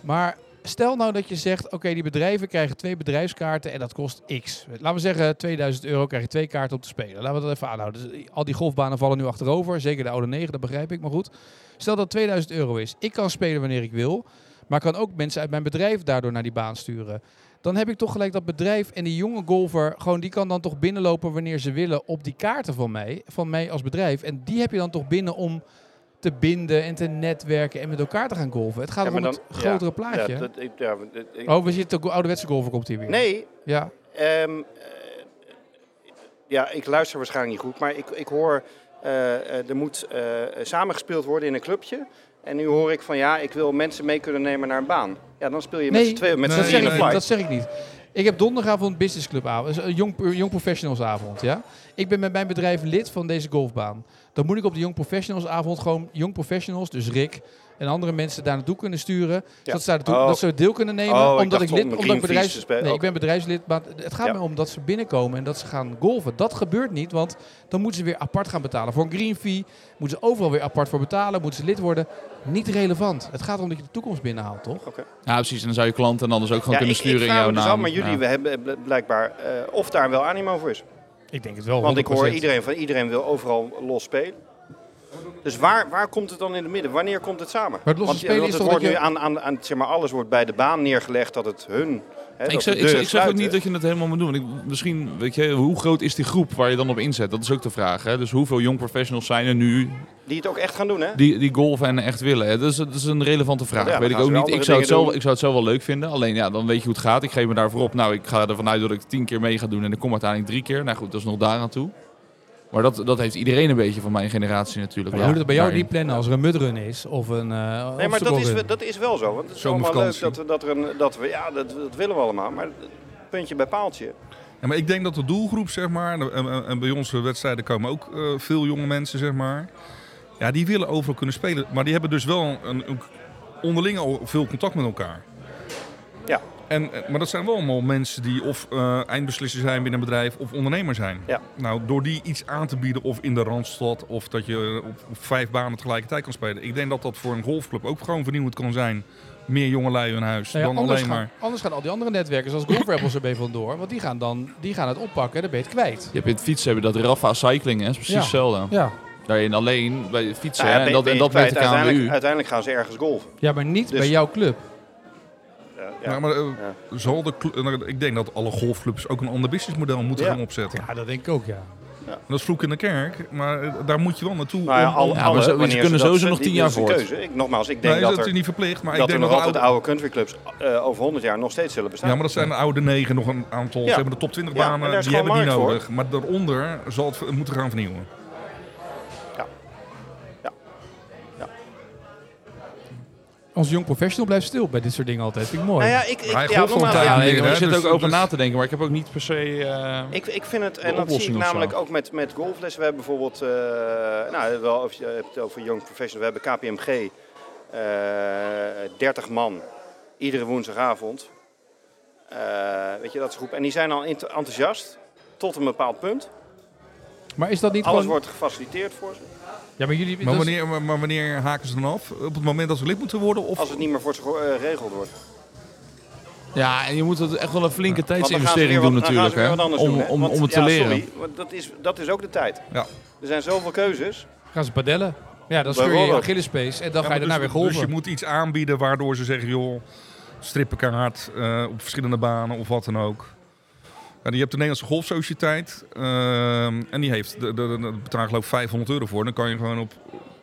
Speaker 2: Maar stel nou dat je zegt: oké, die bedrijven krijgen twee bedrijfskaarten en dat kost x. Laten we zeggen, 2000 euro krijg je twee kaarten om te spelen. Laten we dat even aanhouden. Dus al die golfbanen vallen nu achterover. Zeker de oude 9, dat begrijp ik. Maar goed, stel dat het 2000 euro is. Ik kan spelen wanneer ik wil, maar kan ook mensen uit mijn bedrijf daardoor naar die baan sturen. Dan heb ik toch gelijk dat bedrijf en die jonge golfer, gewoon die kan dan toch binnenlopen wanneer ze willen op die kaarten van mij, van mij als bedrijf. En die heb je dan toch binnen om te binden en te netwerken en met elkaar te gaan golven. Het gaat
Speaker 1: Ja,
Speaker 2: om
Speaker 1: maar
Speaker 2: dus het
Speaker 1: dan- ja,
Speaker 2: grotere plaatje.
Speaker 1: Ja, dat, ik, ja, maar dat- ik-
Speaker 2: Oh, we zitten ook ouderwetse golfer komt hier weer.
Speaker 1: Nee,
Speaker 2: Ja.
Speaker 1: Ehm, eh, ja, ik luister waarschijnlijk niet goed, maar ik, ik hoor eh, eh, er moet eh, samengespeeld worden in een clubje. En nu hoor ik van ja, ik wil mensen mee kunnen nemen naar een baan. Ja, dan speel je met z'n tweeën, met
Speaker 3: nee,
Speaker 1: z'n
Speaker 2: dat, zeg
Speaker 1: drieën
Speaker 2: ik,
Speaker 1: een
Speaker 2: niet,
Speaker 1: flight.
Speaker 2: dat zeg ik niet. Ik heb donderdagavond business clubavond, dus een jong, jong professionals avond. Ja? Ik ben met mijn bedrijf lid van deze golfbaan. Dan moet ik op de jong professionals avond gewoon jong professionals, dus Rick en andere mensen daar naartoe kunnen sturen. Zodat ze daar naartoe,
Speaker 1: Oh.
Speaker 2: dat ze deel kunnen nemen.
Speaker 1: Oh, ik
Speaker 2: omdat
Speaker 1: dacht
Speaker 2: ik
Speaker 1: om
Speaker 2: lid,
Speaker 1: een
Speaker 2: omdat ik
Speaker 1: Greenpeace
Speaker 2: bedrijfs,
Speaker 1: te spelen.
Speaker 2: Nee, ik
Speaker 1: Oké.
Speaker 2: ben bedrijfslid, maar het gaat
Speaker 1: Oh. Ja.
Speaker 2: me om dat ze binnenkomen en dat ze gaan golven. Dat gebeurt niet, want dan moeten ze weer apart gaan betalen. Voor een green fee moeten ze overal weer apart voor betalen, moeten ze lid worden. Niet relevant. Het gaat om dat je de toekomst binnenhaalt, toch?
Speaker 4: Ja, precies. En dan zou je klanten en anders ook gewoon
Speaker 1: Ja,
Speaker 4: kunnen
Speaker 1: ik, ik
Speaker 4: sturen in
Speaker 1: vraag
Speaker 4: jouw
Speaker 1: me dus af,
Speaker 4: naam.
Speaker 1: maar jullie
Speaker 4: Ja.
Speaker 1: we hebben bl- blijkbaar eh, of daar wel animo voor is.
Speaker 2: Ik denk het wel.
Speaker 1: Want ik hoor
Speaker 2: 100%.
Speaker 1: iedereen van iedereen wil overal los spelen. Dus waar, waar komt het dan in het midden? Wanneer komt het samen?
Speaker 2: Maar het losse
Speaker 1: Want, eh,
Speaker 2: spelen
Speaker 1: want
Speaker 2: is
Speaker 1: het
Speaker 2: toch
Speaker 1: wordt
Speaker 2: dat
Speaker 1: nu
Speaker 2: je-
Speaker 1: aan, aan, aan zeg maar, alles wordt bij de baan neergelegd dat het hun. Hè, dat
Speaker 4: Ik zeg,
Speaker 1: de
Speaker 4: ik, zeg,
Speaker 1: deuren
Speaker 4: ik zeg ook
Speaker 1: sluiten.
Speaker 4: niet dat je het helemaal moet doen. Want ik, misschien, weet je, hoe groot is die groep waar je dan op inzet? Dat is ook de vraag. Hè? Dus hoeveel jong professionals zijn er nu
Speaker 1: Die het ook echt gaan doen, hè?
Speaker 4: die, die golven en echt willen? Hè? Dat, is, dat is een relevante vraag.
Speaker 1: Ja, dan
Speaker 4: weet ik
Speaker 1: gaan
Speaker 4: ook
Speaker 1: ze weer
Speaker 4: niet. Ik
Speaker 1: andere
Speaker 4: zou, het
Speaker 1: dingen
Speaker 4: zo,
Speaker 1: doen.
Speaker 4: ik zou het zo wel leuk vinden. Alleen ja, dan weet je hoe het gaat. Ik geef me daarvoor op. Nou, ik ga ervan uit dat ik tien keer mee ga doen en ik kom uiteindelijk drie keer. Nou goed, dat is nog daaraan toe. Maar dat, dat heeft iedereen een beetje van mijn generatie natuurlijk.
Speaker 2: Maar je moet het bij jou
Speaker 4: Daarin.
Speaker 2: niet plannen als er een mudrun is of een. eh
Speaker 1: Nee, maar dat is,
Speaker 2: obstacle
Speaker 1: we-
Speaker 2: run.
Speaker 1: dat is wel zo. Want het is allemaal leuk
Speaker 3: Zomervakantie.
Speaker 1: dat we, dat, er een, dat we, ja, dat, dat willen we allemaal. Maar het puntje bij paaltje.
Speaker 3: Ja, maar ik denk dat de doelgroep, zeg maar, en, en- en bij onze wedstrijden komen ook eh, veel jonge mensen, zeg maar. Ja, die willen overal kunnen spelen. Maar die hebben dus wel een, een- onderling al veel contact met elkaar.
Speaker 1: Ja.
Speaker 3: En, eh, maar dat zijn wel allemaal mensen die of eh eindbeslisser zijn binnen een bedrijf of ondernemer zijn.
Speaker 1: Ja.
Speaker 3: Nou, door die iets aan te bieden of in de Randstad of dat je op, op vijf banen tegelijkertijd kan spelen. Ik denk dat dat voor een golfclub ook gewoon vernieuwend kan zijn. Meer jongelui in huis
Speaker 2: Nou ja,
Speaker 3: dan
Speaker 2: anders,
Speaker 3: alleen maar...
Speaker 2: gaan, anders gaan al die andere netwerken, zoals Golf Rebels erbij vandoor, want die gaan, dan, die gaan het oppakken en dan ben je het kwijt.
Speaker 4: Je hebt in het fietsen hebben dat Rafa Cycling, hè? is precies
Speaker 2: Ja.
Speaker 4: hetzelfde.
Speaker 2: Ja.
Speaker 4: Daarin alleen bij het fietsen
Speaker 1: Nou ja,
Speaker 4: hè,
Speaker 1: ben-
Speaker 4: en dat,
Speaker 1: ben
Speaker 4: en
Speaker 1: je
Speaker 4: dat
Speaker 1: kwijt.
Speaker 4: met de
Speaker 1: uiteindelijk,
Speaker 4: KNWU.
Speaker 1: uiteindelijk gaan ze ergens golven.
Speaker 2: ja, maar niet
Speaker 1: Dus-
Speaker 2: bij jouw club.
Speaker 1: Ja, ja.
Speaker 3: Ja, maar eh, zal de cl- eh, ik denk dat alle golfclubs ook een ander businessmodel moeten
Speaker 1: Ja.
Speaker 3: gaan opzetten.
Speaker 2: Ja, dat denk ik ook, ja.
Speaker 3: En Dat is vloek in de kerk, maar eh, daar moet je wel naartoe.
Speaker 1: Nou ja,
Speaker 3: om-
Speaker 1: alle-
Speaker 3: om-
Speaker 4: maar
Speaker 1: alle-
Speaker 4: ze- ze
Speaker 1: wanneer
Speaker 4: kunnen
Speaker 1: dat-
Speaker 4: sowieso nog
Speaker 1: die-
Speaker 4: tien
Speaker 1: dat
Speaker 4: jaar
Speaker 1: is een
Speaker 4: voort.
Speaker 1: keuze. Ik, nogmaals, ik denk
Speaker 3: nee,
Speaker 1: dat,
Speaker 3: dat is
Speaker 1: er,
Speaker 3: niet verplicht, maar ik
Speaker 1: dat er
Speaker 3: denk
Speaker 1: nog
Speaker 3: dat de
Speaker 1: altijd
Speaker 3: oude,
Speaker 1: oude countryclubs eh, over 100 jaar nog steeds zullen
Speaker 3: Ja,
Speaker 1: bestaan.
Speaker 3: maar dat zijn de oude negen, nog een aantal.
Speaker 1: Ja.
Speaker 3: Ze hebben de top 20
Speaker 1: Ja, en
Speaker 3: banen,
Speaker 1: daar is
Speaker 3: die hebben die
Speaker 1: gewoon markt
Speaker 3: nodig. Maar daaronder zal het v- moeten gaan vernieuwen.
Speaker 2: Ons jong professional blijft stil bij dit soort dingen altijd. Vind ik mooi.
Speaker 1: nou ja, ik, ik,
Speaker 3: Maar hij
Speaker 1: ja,
Speaker 3: golft al een
Speaker 1: nogmaals,
Speaker 3: tijd
Speaker 1: ja,
Speaker 4: Ja, nee,
Speaker 3: meer,
Speaker 4: maar
Speaker 3: hè,
Speaker 4: ik zit
Speaker 3: dus
Speaker 4: er ook
Speaker 3: dat
Speaker 4: over
Speaker 3: is-
Speaker 4: na te denken, maar ik heb ook niet per se... eh,
Speaker 1: Ik, ik vind het, en dat zie
Speaker 4: De
Speaker 1: ik
Speaker 4: oplossing of zo.
Speaker 1: namelijk ook met, met golflessen. We hebben bijvoorbeeld, eh nou, wel, of je hebt het over Young Professional, we hebben KPMG, eh 30 man, iedere woensdagavond. Eh, weet je, dat is groep. En die zijn al ent- enthousiast, tot een bepaald punt.
Speaker 2: Maar is dat niet
Speaker 1: Alles
Speaker 2: gewoon...
Speaker 1: wordt gefaciliteerd voor ze.
Speaker 2: Ja, maar jullie...
Speaker 3: Maar
Speaker 2: dat is-
Speaker 3: wanneer, maar, maar wanneer haken ze dan af? Op het moment dat ze lid moeten worden? Of
Speaker 1: Als het niet meer voor ze ge- eh, geregeld wordt.
Speaker 4: Ja, en je moet dat echt wel een flinke
Speaker 1: Want dan gaan ze
Speaker 4: tijdsinvestering
Speaker 1: weer
Speaker 4: doen
Speaker 1: wat- dan gaan
Speaker 4: natuurlijk.
Speaker 1: ze weer
Speaker 4: Hè?
Speaker 1: wat anders
Speaker 4: Om,
Speaker 1: doen, hè.
Speaker 4: om,
Speaker 1: Want,
Speaker 4: om het te
Speaker 1: ja,
Speaker 4: leren.
Speaker 1: Sorry, want dat, is, dat is ook de tijd.
Speaker 3: Ja.
Speaker 1: Er zijn zoveel keuzes.
Speaker 2: Gaan ze padellen? Ja, dan scheur je je
Speaker 1: Waarom?
Speaker 2: Achillespees en dan
Speaker 3: Ja,
Speaker 2: ga je
Speaker 3: maar
Speaker 2: daarna weer
Speaker 3: dus-
Speaker 2: golven.
Speaker 3: Dus je moet iets aanbieden waardoor ze zeggen, joh, strippenkaart eh, op verschillende banen of wat dan ook. Ja, je hebt de Nederlandse Golfsociëteit ehm, en die heeft, de, de, de- het bedrag loopt 500 euro voor. Dan kan je gewoon op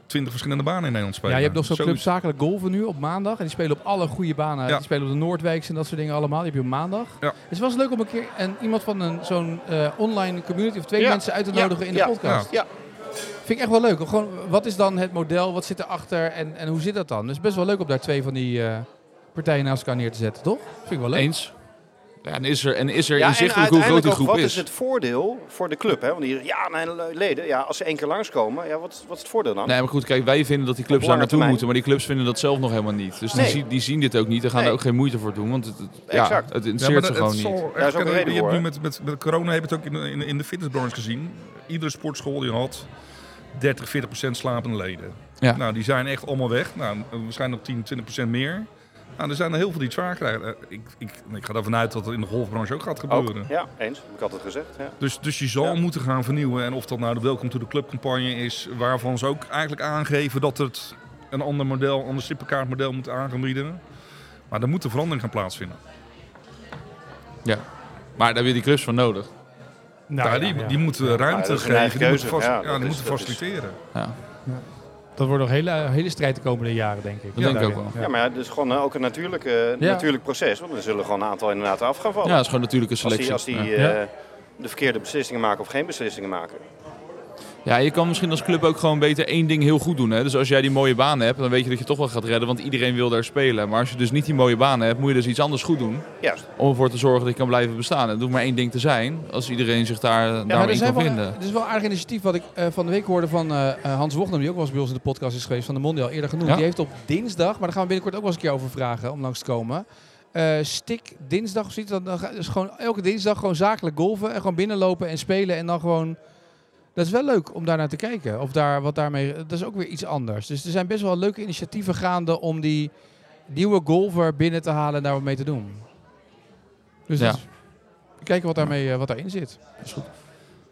Speaker 3: 20 verschillende banen in Nederland spelen.
Speaker 2: ja, je hebt nog zo'n club
Speaker 3: Zoiets.
Speaker 2: zakelijk golven nu op maandag. En die spelen op alle goede banen.
Speaker 3: Ja.
Speaker 2: Die spelen op de Noordwijks en dat soort dingen allemaal. Die heb je op maandag.
Speaker 3: Ja.
Speaker 2: Dus het was leuk om een keer een, iemand van een, zo'n eh, online community of twee
Speaker 1: Ja.
Speaker 2: mensen uit te
Speaker 1: Ja.
Speaker 2: nodigen in de
Speaker 1: Ja.
Speaker 2: podcast.
Speaker 1: Ja.
Speaker 2: Vind ik echt wel leuk. Gewoon, wat is dan het model? Wat zit erachter? En, en hoe zit dat dan? Dus best wel leuk om daar twee van die eh, partijen naast elkaar neer te zetten, toch? Vind ik wel leuk.
Speaker 4: Eens. Ja, en is er, en is er
Speaker 1: Ja, en
Speaker 4: inzichtelijk hoe groot
Speaker 1: uiteindelijk
Speaker 4: die
Speaker 1: ook,
Speaker 4: groep
Speaker 1: wat
Speaker 4: is.
Speaker 1: is het voordeel voor de club? Hè? Want die ja, mijn leden, ja, als ze één keer langskomen, ja, wat, wat is het voordeel dan?
Speaker 4: Nee, maar goed, kijk, wij vinden dat die clubs
Speaker 1: Op lange
Speaker 4: daar naartoe
Speaker 1: termijn.
Speaker 4: moeten, maar die clubs vinden dat zelf nog helemaal niet. Dus die,
Speaker 1: Nee.
Speaker 4: zien, die zien dit ook niet en gaan
Speaker 1: Nee.
Speaker 4: er ook geen moeite voor doen, want het, het, ja,
Speaker 1: Exact.
Speaker 4: het
Speaker 3: Ja, maar
Speaker 4: interesseert ze
Speaker 3: dat-
Speaker 4: gewoon
Speaker 3: het zal
Speaker 4: niet.
Speaker 3: echt-
Speaker 1: Daar is ook een
Speaker 3: je
Speaker 1: reden
Speaker 3: hebt
Speaker 1: voor,
Speaker 3: nu
Speaker 1: hè?
Speaker 3: met, met, met corona heb je het ook in, de- in, de- in de fitnessbranche gezien. Iedere sportschool die had 30, 40 procent slapende leden.
Speaker 4: Ja.
Speaker 3: Nou, die zijn echt allemaal weg. Nou, waarschijnlijk nog 10, 20 procent meer. Nou, er zijn er heel veel die het zwaar krijgen. Eh, Ik, ik, ik ga ervan uit dat het in de golfbranche ook gaat
Speaker 1: Ook,
Speaker 3: gebeuren.
Speaker 1: ja, eens. Heb ik altijd gezegd. Ja.
Speaker 3: Dus, dus je zal
Speaker 1: Ja.
Speaker 3: moeten gaan vernieuwen. En of dat nou de Welcome to the Club campagne is, waarvan ze ook eigenlijk aangeven dat het een ander model, een ander strippenkaartmodel moet aanbieden. Maar er moet een verandering gaan plaatsvinden.
Speaker 4: Ja. Maar daar heb je die clubs voor nodig.
Speaker 2: Nou,
Speaker 3: ja,
Speaker 2: ja,
Speaker 3: die,
Speaker 2: ja.
Speaker 3: die moeten
Speaker 1: dat is
Speaker 3: ruimte
Speaker 1: hun
Speaker 3: geven,
Speaker 1: eigen
Speaker 3: die moeten,
Speaker 1: keuze.
Speaker 3: vast,
Speaker 1: Ja,
Speaker 3: ja,
Speaker 1: dat
Speaker 3: die
Speaker 1: is-
Speaker 3: moeten
Speaker 1: dat is-
Speaker 3: faciliteren.
Speaker 4: Ja.
Speaker 2: Dat wordt nog een hele, hele strijd de komende jaren, denk ik.
Speaker 4: Dat denk ik ook
Speaker 2: daarin.
Speaker 1: Ja, maar het is gewoon eh, ook een natuurlijk, eh,
Speaker 2: Ja.
Speaker 1: natuurlijk proces. Want er zullen gewoon een aantal inderdaad af gaan vallen.
Speaker 4: ja, dat is gewoon natuurlijk een
Speaker 1: als
Speaker 4: selectie.
Speaker 1: die, als die
Speaker 4: ja.
Speaker 1: eh, de verkeerde beslissingen maken of geen beslissingen maken.
Speaker 4: Ja, je kan misschien als club ook gewoon beter één ding heel goed doen. Hè? Dus als jij die mooie baan hebt, dan weet je dat je toch wel gaat redden, want iedereen wil daar spelen. Maar als je dus niet die mooie baan hebt, moet je dus iets anders goed doen
Speaker 1: Juist.
Speaker 4: om ervoor te zorgen dat je kan blijven bestaan. Het hoeft maar één ding te zijn, als iedereen zich daar,
Speaker 2: Ja, maar er
Speaker 4: daarin
Speaker 2: zijn
Speaker 4: kan
Speaker 2: wel,
Speaker 4: vinden.
Speaker 2: Het is wel een aardig initiatief wat ik eh, van de week hoorde van eh, eh, Hans Wochtem, die ook wel eens bij ons in de podcast is geweest van de Mondial, eerder genoemd.
Speaker 4: Ja.
Speaker 2: Die heeft op dinsdag, maar daar gaan we binnenkort ook wel eens een keer over vragen om langs te komen. Eh stik dinsdag of zoiets. Dan, dan ga- dus gewoon elke dinsdag gewoon zakelijk golven en gewoon binnenlopen en spelen en dan gewoon. Dat is wel leuk om daar naar te kijken. Of daar wat daarmee. Dat is ook weer iets anders. Dus er zijn best wel leuke initiatieven gaande om die nieuwe golfer binnen te halen en daar wat mee te doen. Dus
Speaker 4: Ja.
Speaker 2: dat is- kijken wat daarmee eh, wat daarin zit.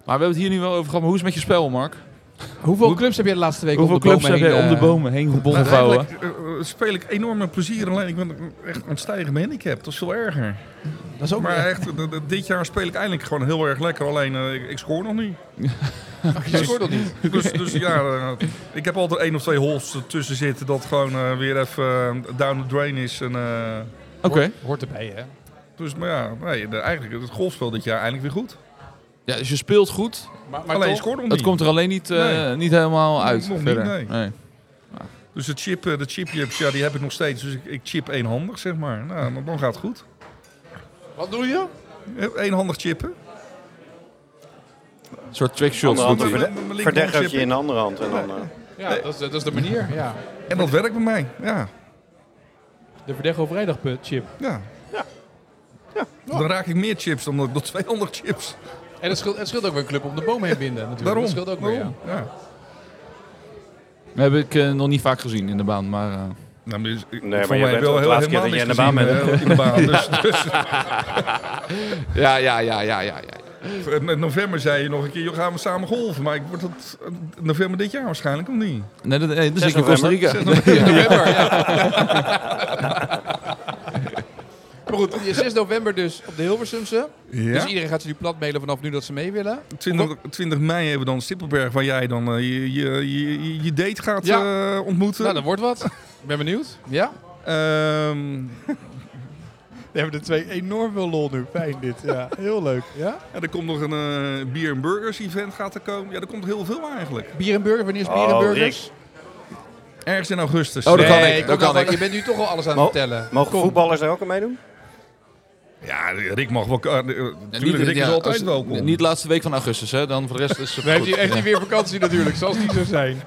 Speaker 4: Maar we hebben het hier nu wel over gehad, maar hoe is het met je spel, Mark?
Speaker 2: Hoeveel clubs heb je de laatste week
Speaker 4: Hoeveel
Speaker 2: om de bomen
Speaker 4: clubs heb jij
Speaker 2: heen,
Speaker 4: om de
Speaker 2: eh,
Speaker 4: bomen heen gebonden
Speaker 3: Nou,
Speaker 4: vouwen?
Speaker 3: eigenlijk eh, eh, speel ik enorme plezier, alleen ik ben echt aan het stijgen mijn handicap. Dat is veel erger.
Speaker 2: Dat is ook
Speaker 3: Maar
Speaker 2: maar,
Speaker 3: echt, eh, eh, dit jaar speel ik eindelijk gewoon heel erg lekker, alleen eh, ik, ik scoor nog niet.
Speaker 2: je scoort dat niet.
Speaker 3: Dus, dus ja, eh, ik heb altijd één of twee holes tussen zitten dat gewoon eh, weer even eh, down the drain is. En, eh,
Speaker 4: Oké.
Speaker 2: Hoort erbij, hè?
Speaker 3: dus maar ja, nee, de- eigenlijk het golfspel dit jaar eindelijk weer goed.
Speaker 4: Ja, dus je speelt goed.
Speaker 2: Maar,
Speaker 3: alleen ik scoor nog niet.
Speaker 4: Het komt er alleen niet, eh,
Speaker 3: Nee.
Speaker 4: niet helemaal
Speaker 3: Nee,
Speaker 4: uit.
Speaker 3: nog niet,
Speaker 4: verder.
Speaker 3: nee. Dus de chip, eh, de chip ja, die heb ik nog steeds. Dus ik, ik chip eenhandig, zeg maar. Nou, dan- dan gaat het goed. Eh,
Speaker 2: Wat doe je?
Speaker 3: Eenhandig chippen.
Speaker 4: Een soort trickshots
Speaker 1: Onder
Speaker 4: doet hij.
Speaker 1: andere. eh,
Speaker 3: Mijn linkerhand
Speaker 1: Verdergertje
Speaker 3: chippen.
Speaker 1: in de andere hand. En dan, eh,
Speaker 2: Ja, dat is, dat is de manier. Ja.
Speaker 3: En dat werkt bij mij. Ja,
Speaker 2: De Verdego Vrijdag chip.
Speaker 3: ja.
Speaker 1: Ja.
Speaker 3: Dan raak ik meer chips dan dat- dat 200 chips.
Speaker 2: En het scheelt, het scheelt ook weer een club om de boom heen binden natuurlijk.
Speaker 3: Daarom.
Speaker 2: Dat scheelt ook weer, ja.
Speaker 3: Daarom. Ja.
Speaker 4: Dat heb ik eh, nog niet vaak gezien in de baan, maar... eh,
Speaker 3: Nou, maar dus, ik-
Speaker 1: maar
Speaker 3: voor
Speaker 1: je
Speaker 3: mij
Speaker 1: bent
Speaker 3: wel
Speaker 1: het
Speaker 3: heel-
Speaker 1: laatste keer dat
Speaker 3: helemaal niks
Speaker 1: jij in de
Speaker 3: gezien,
Speaker 1: baan
Speaker 3: eh, in de baan. Dus, dus
Speaker 4: Ja, ja, ja, ja, ja. ja.
Speaker 3: dus, eh, in november zei je nog een keer, joh, gaan we samen golven. Maar ik word dat eh, november dit jaar waarschijnlijk, of niet?
Speaker 4: Nee, dat, nee, dat is
Speaker 1: 6
Speaker 4: in Costa Rica. Ja.
Speaker 2: November, ja. Maar goed, die 6 november dus op de Hilversumse. Dus
Speaker 3: Ja.
Speaker 2: iedereen gaat ze nu plat mailen vanaf nu dat ze mee willen.
Speaker 3: 20, 20 mei hebben we dan Stippelberg, waar jij dan eh, je, je, je, je date gaat
Speaker 2: Ja.
Speaker 3: eh, ontmoeten.
Speaker 2: Nou, dat wordt wat. Ik ben benieuwd. Ja?
Speaker 3: Ehm,
Speaker 2: We hebben er twee enorm veel lol nu. Fijn dit. Ja, heel leuk. Ja?
Speaker 3: ja, er komt nog een eh bier en burgers event gaat er komen. Ja, er komt heel veel eigenlijk.
Speaker 2: Bier en burger, wanneer is bier en
Speaker 1: Oh,
Speaker 2: burgers?
Speaker 3: Ergens in augustus. Eh,
Speaker 4: Oh, dat kan
Speaker 2: Nee,
Speaker 4: ik,
Speaker 2: kom
Speaker 4: dat kan
Speaker 2: nou,
Speaker 4: ik.
Speaker 2: Je bent nu toch al alles aan het
Speaker 1: Mo-
Speaker 2: vertellen.
Speaker 1: Mogen voetballers daar ook aan meedoen?
Speaker 3: Ja, Rick mag wel. eh, eh,
Speaker 4: Ja,
Speaker 3: tuurlijk, Rick
Speaker 4: ja,
Speaker 3: is altijd
Speaker 4: als-
Speaker 3: welkom.
Speaker 4: Niet de laatste week van augustus, hè. Dan voor de rest is het
Speaker 2: Dan heeft
Speaker 4: goed.
Speaker 2: hij, heeft
Speaker 4: Ja.
Speaker 2: hij weer vakantie natuurlijk, zoals die zo zijn.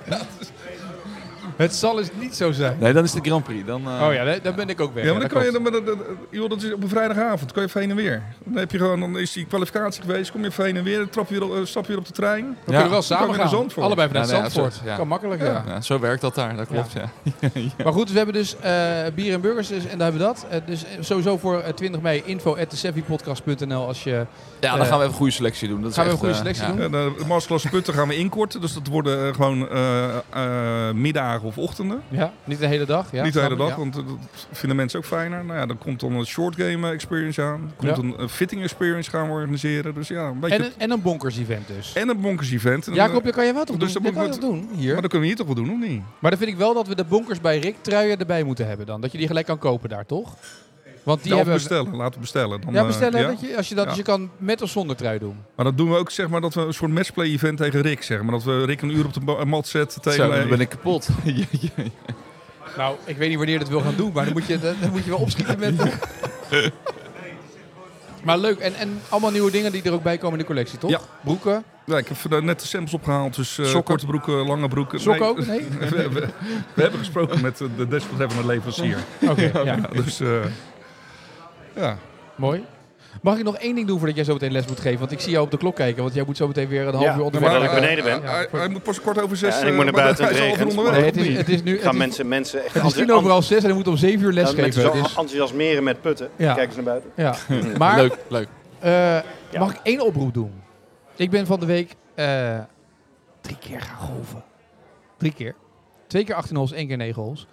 Speaker 2: Het zal eens niet zo zijn.
Speaker 4: Nee, dan is het de Grand Prix. Dan, eh,
Speaker 2: Oh ja, daar, daar ben ik ook weg.
Speaker 3: Ja, maar
Speaker 2: dat
Speaker 3: dan kan je,
Speaker 2: klopt.
Speaker 3: dan- maar dat, dat- joh, dat is op een vrijdagavond, kan je even heen en weer. Dan, heb je gewoon, dan is die kwalificatie geweest, kom je even heen en weer, dan trap je weer, op- eh, stap je weer op de trein.
Speaker 2: We kunnen wel
Speaker 3: Dan kan
Speaker 2: samen
Speaker 3: je naar
Speaker 2: gaan.
Speaker 3: Zandvoort.
Speaker 2: Allebei vanuit
Speaker 4: Ja, nee,
Speaker 2: Zandvoort.
Speaker 4: absoluut, ja.
Speaker 2: Kan makkelijk, ja.
Speaker 4: ja, zo werkt dat daar, dat klopt. Ja.
Speaker 2: Maar goed, dus we hebben dus eh, bier en burgers dus, en daar hebben we dat. Eh, dus eh, sowieso voor eh, 20 mei info at theseffiepodcast.nl als je...
Speaker 4: Ja, dan gaan we even een goede selectie doen. Dat is
Speaker 2: Gaan we
Speaker 4: echt,
Speaker 2: een goede
Speaker 4: eh,
Speaker 2: selectie
Speaker 4: ja.
Speaker 2: doen?
Speaker 3: Ja, de de masterclass punten gaan we inkorten, dus dat worden eh, gewoon eh, eh, middagen of ochtenden.
Speaker 2: Ja, niet de hele dag. Ja,
Speaker 3: Niet de hele
Speaker 2: snap ik, ja.
Speaker 3: dag, want eh, dat vinden mensen ook fijner. Nou ja, dan komt dan een short game eh, experience aan. Er komt
Speaker 2: Ja.
Speaker 3: een eh, fitting experience gaan we organiseren. Dus ja, een beetje...
Speaker 2: En een, en een bonkers event dus.
Speaker 3: en een bonkers event. En, eh,
Speaker 2: Jacob, dat kan je wel toch
Speaker 3: dus
Speaker 2: doen? Dat
Speaker 3: dan
Speaker 2: kan je
Speaker 3: moet
Speaker 2: toch doen hier?
Speaker 3: Maar dat kunnen we hier toch wel doen, of niet?
Speaker 2: Maar dan vind ik wel dat we de bonkers bij Rick truien erbij moeten hebben dan. Dat je die gelijk kan kopen daar, toch? Want die
Speaker 3: ja, of
Speaker 2: hebben...
Speaker 3: bestellen. Laten we bestellen. Dan,
Speaker 2: Ja,
Speaker 3: eh,
Speaker 2: bestellen.
Speaker 3: ja.
Speaker 2: Dat je, als je dat,
Speaker 3: Ja.
Speaker 2: dus je kan met of zonder trui doen.
Speaker 3: Maar dat doen we ook, zeg maar, dat we een soort matchplay-event tegen Rick, zeg maar. Dat we Rick een uur op de ba- mat zetten tegen...
Speaker 4: Zo, dan
Speaker 3: eh,
Speaker 4: ben ik kapot. Ja, ja.
Speaker 2: Nou, ik weet niet wanneer je dat wil gaan doen, maar dan moet je, dan, dan moet je wel opschieten met... maar leuk. En, en allemaal nieuwe dingen die er ook bij komen in de collectie, toch?
Speaker 3: Ja.
Speaker 2: Broeken,
Speaker 3: Ja, ik heb vandaag net de samples opgehaald, dus eh,
Speaker 2: Sokken.
Speaker 3: korte broeken, lange broeken.
Speaker 2: sokken
Speaker 3: Nee,
Speaker 2: ook? Nee?
Speaker 3: we, we- we hebben gesproken met eh, de desbetreffende leverancier.
Speaker 2: Oké, ja.
Speaker 3: Ja, dus eh, ja.
Speaker 2: Mooi. Mag ik nog één ding doen voordat jij zo meteen les moet geven? Want ik zie jou op de klok kijken, want jij moet zo meteen weer een half
Speaker 1: Ja,
Speaker 2: uur
Speaker 1: maar
Speaker 2: onderweg.
Speaker 1: dat ik
Speaker 2: eh,
Speaker 1: beneden ben.
Speaker 2: ja,
Speaker 3: Hij, hij moet pas kwart over zes.
Speaker 1: Ja, en ik
Speaker 3: eh,
Speaker 1: moet naar
Speaker 3: maar
Speaker 1: buiten,
Speaker 3: hij is
Speaker 1: het
Speaker 3: al
Speaker 1: regent.
Speaker 3: onderweg.
Speaker 2: Nee, het is, het is nu...
Speaker 1: Gaan
Speaker 2: het is-
Speaker 1: mensen, mensen echt
Speaker 2: Het is tien
Speaker 1: enthousi-
Speaker 2: over half zes en hij moet om zeven uur les
Speaker 1: Ja, Mensen
Speaker 2: geven.
Speaker 1: zo
Speaker 2: Het is-
Speaker 1: enthousiasmeren met putten.
Speaker 2: Ja.
Speaker 1: Kijk eens naar buiten.
Speaker 2: ja. Maar
Speaker 4: Leuk, leuk.
Speaker 2: eh,
Speaker 1: Ja.
Speaker 2: mag ik één oproep doen? Ik ben van de week eh, drie keer gaan golven. Drie keer. Twee keer 18 holes, één keer 9 holes.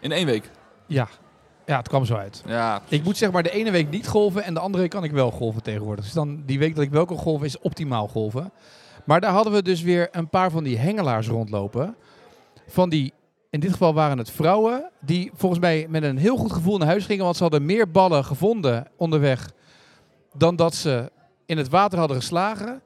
Speaker 4: In één week.
Speaker 2: Ja. ja, het kwam zo uit.
Speaker 4: Ja,
Speaker 2: Ik moet zeg maar de ene week niet golven en de andere kan ik wel golven tegenwoordig. Dus dan die week dat ik wel kan golven is optimaal golven. Maar daar hadden we dus weer een paar van die hengelaars rondlopen. Van die, in dit geval waren het vrouwen, die volgens mij met een heel goed gevoel naar huis gingen. Want ze hadden meer ballen gevonden onderweg dan dat ze in het water hadden geslagen.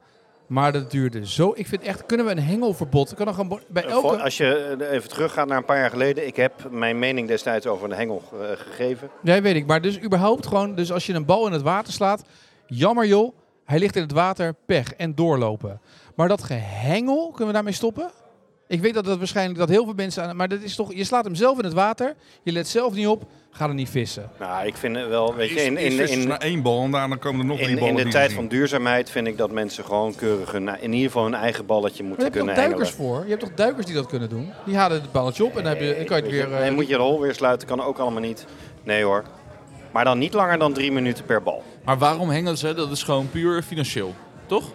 Speaker 2: Maar dat duurde zo. Ik vind echt, kunnen we een hengelverbod? Kan dan gewoon bo- bij
Speaker 1: Eh, Voor-
Speaker 2: elke.
Speaker 1: Als je eh, even teruggaat naar een paar jaar geleden. Ik heb mijn mening destijds over de hengel eh, gegeven.
Speaker 2: Nee, weet ik. Maar dus überhaupt gewoon, dus als je een bal in het water slaat, jammer joh, hij ligt in het water, pech en doorlopen. Maar dat gehengel, kunnen we daarmee stoppen? Ik weet dat dat waarschijnlijk dat heel veel mensen aan, maar dat is toch, je slaat hem zelf in het water, je let zelf niet op, ga er niet vissen.
Speaker 1: Nou, ik vind eh, wel, weet je,
Speaker 3: Eerst-
Speaker 1: in,
Speaker 3: eerst
Speaker 1: in,
Speaker 3: is het
Speaker 1: in,
Speaker 3: naar één bal en daarna komen er nog
Speaker 1: in,
Speaker 3: drie ballen.
Speaker 1: in de
Speaker 3: die
Speaker 1: tijd
Speaker 3: we
Speaker 1: van
Speaker 3: zien.
Speaker 1: duurzaamheid vind ik dat mensen gewoon keurig hun, in ieder geval hun eigen balletje
Speaker 2: Maar
Speaker 1: moeten
Speaker 2: daar heb je
Speaker 1: kunnen
Speaker 2: toch
Speaker 1: hengelen.
Speaker 2: duikers voor? Je hebt toch duikers die dat kunnen doen? Die halen het balletje op en dan, heb je, dan kan je het
Speaker 1: Weet je,
Speaker 2: weer. eh,
Speaker 1: nee, moet je de hol weer sluiten, kan ook allemaal niet. Nee hoor. Maar dan niet langer dan drie minuten per bal.
Speaker 4: maar waarom hengelen ze? Dat is gewoon puur financieel, toch?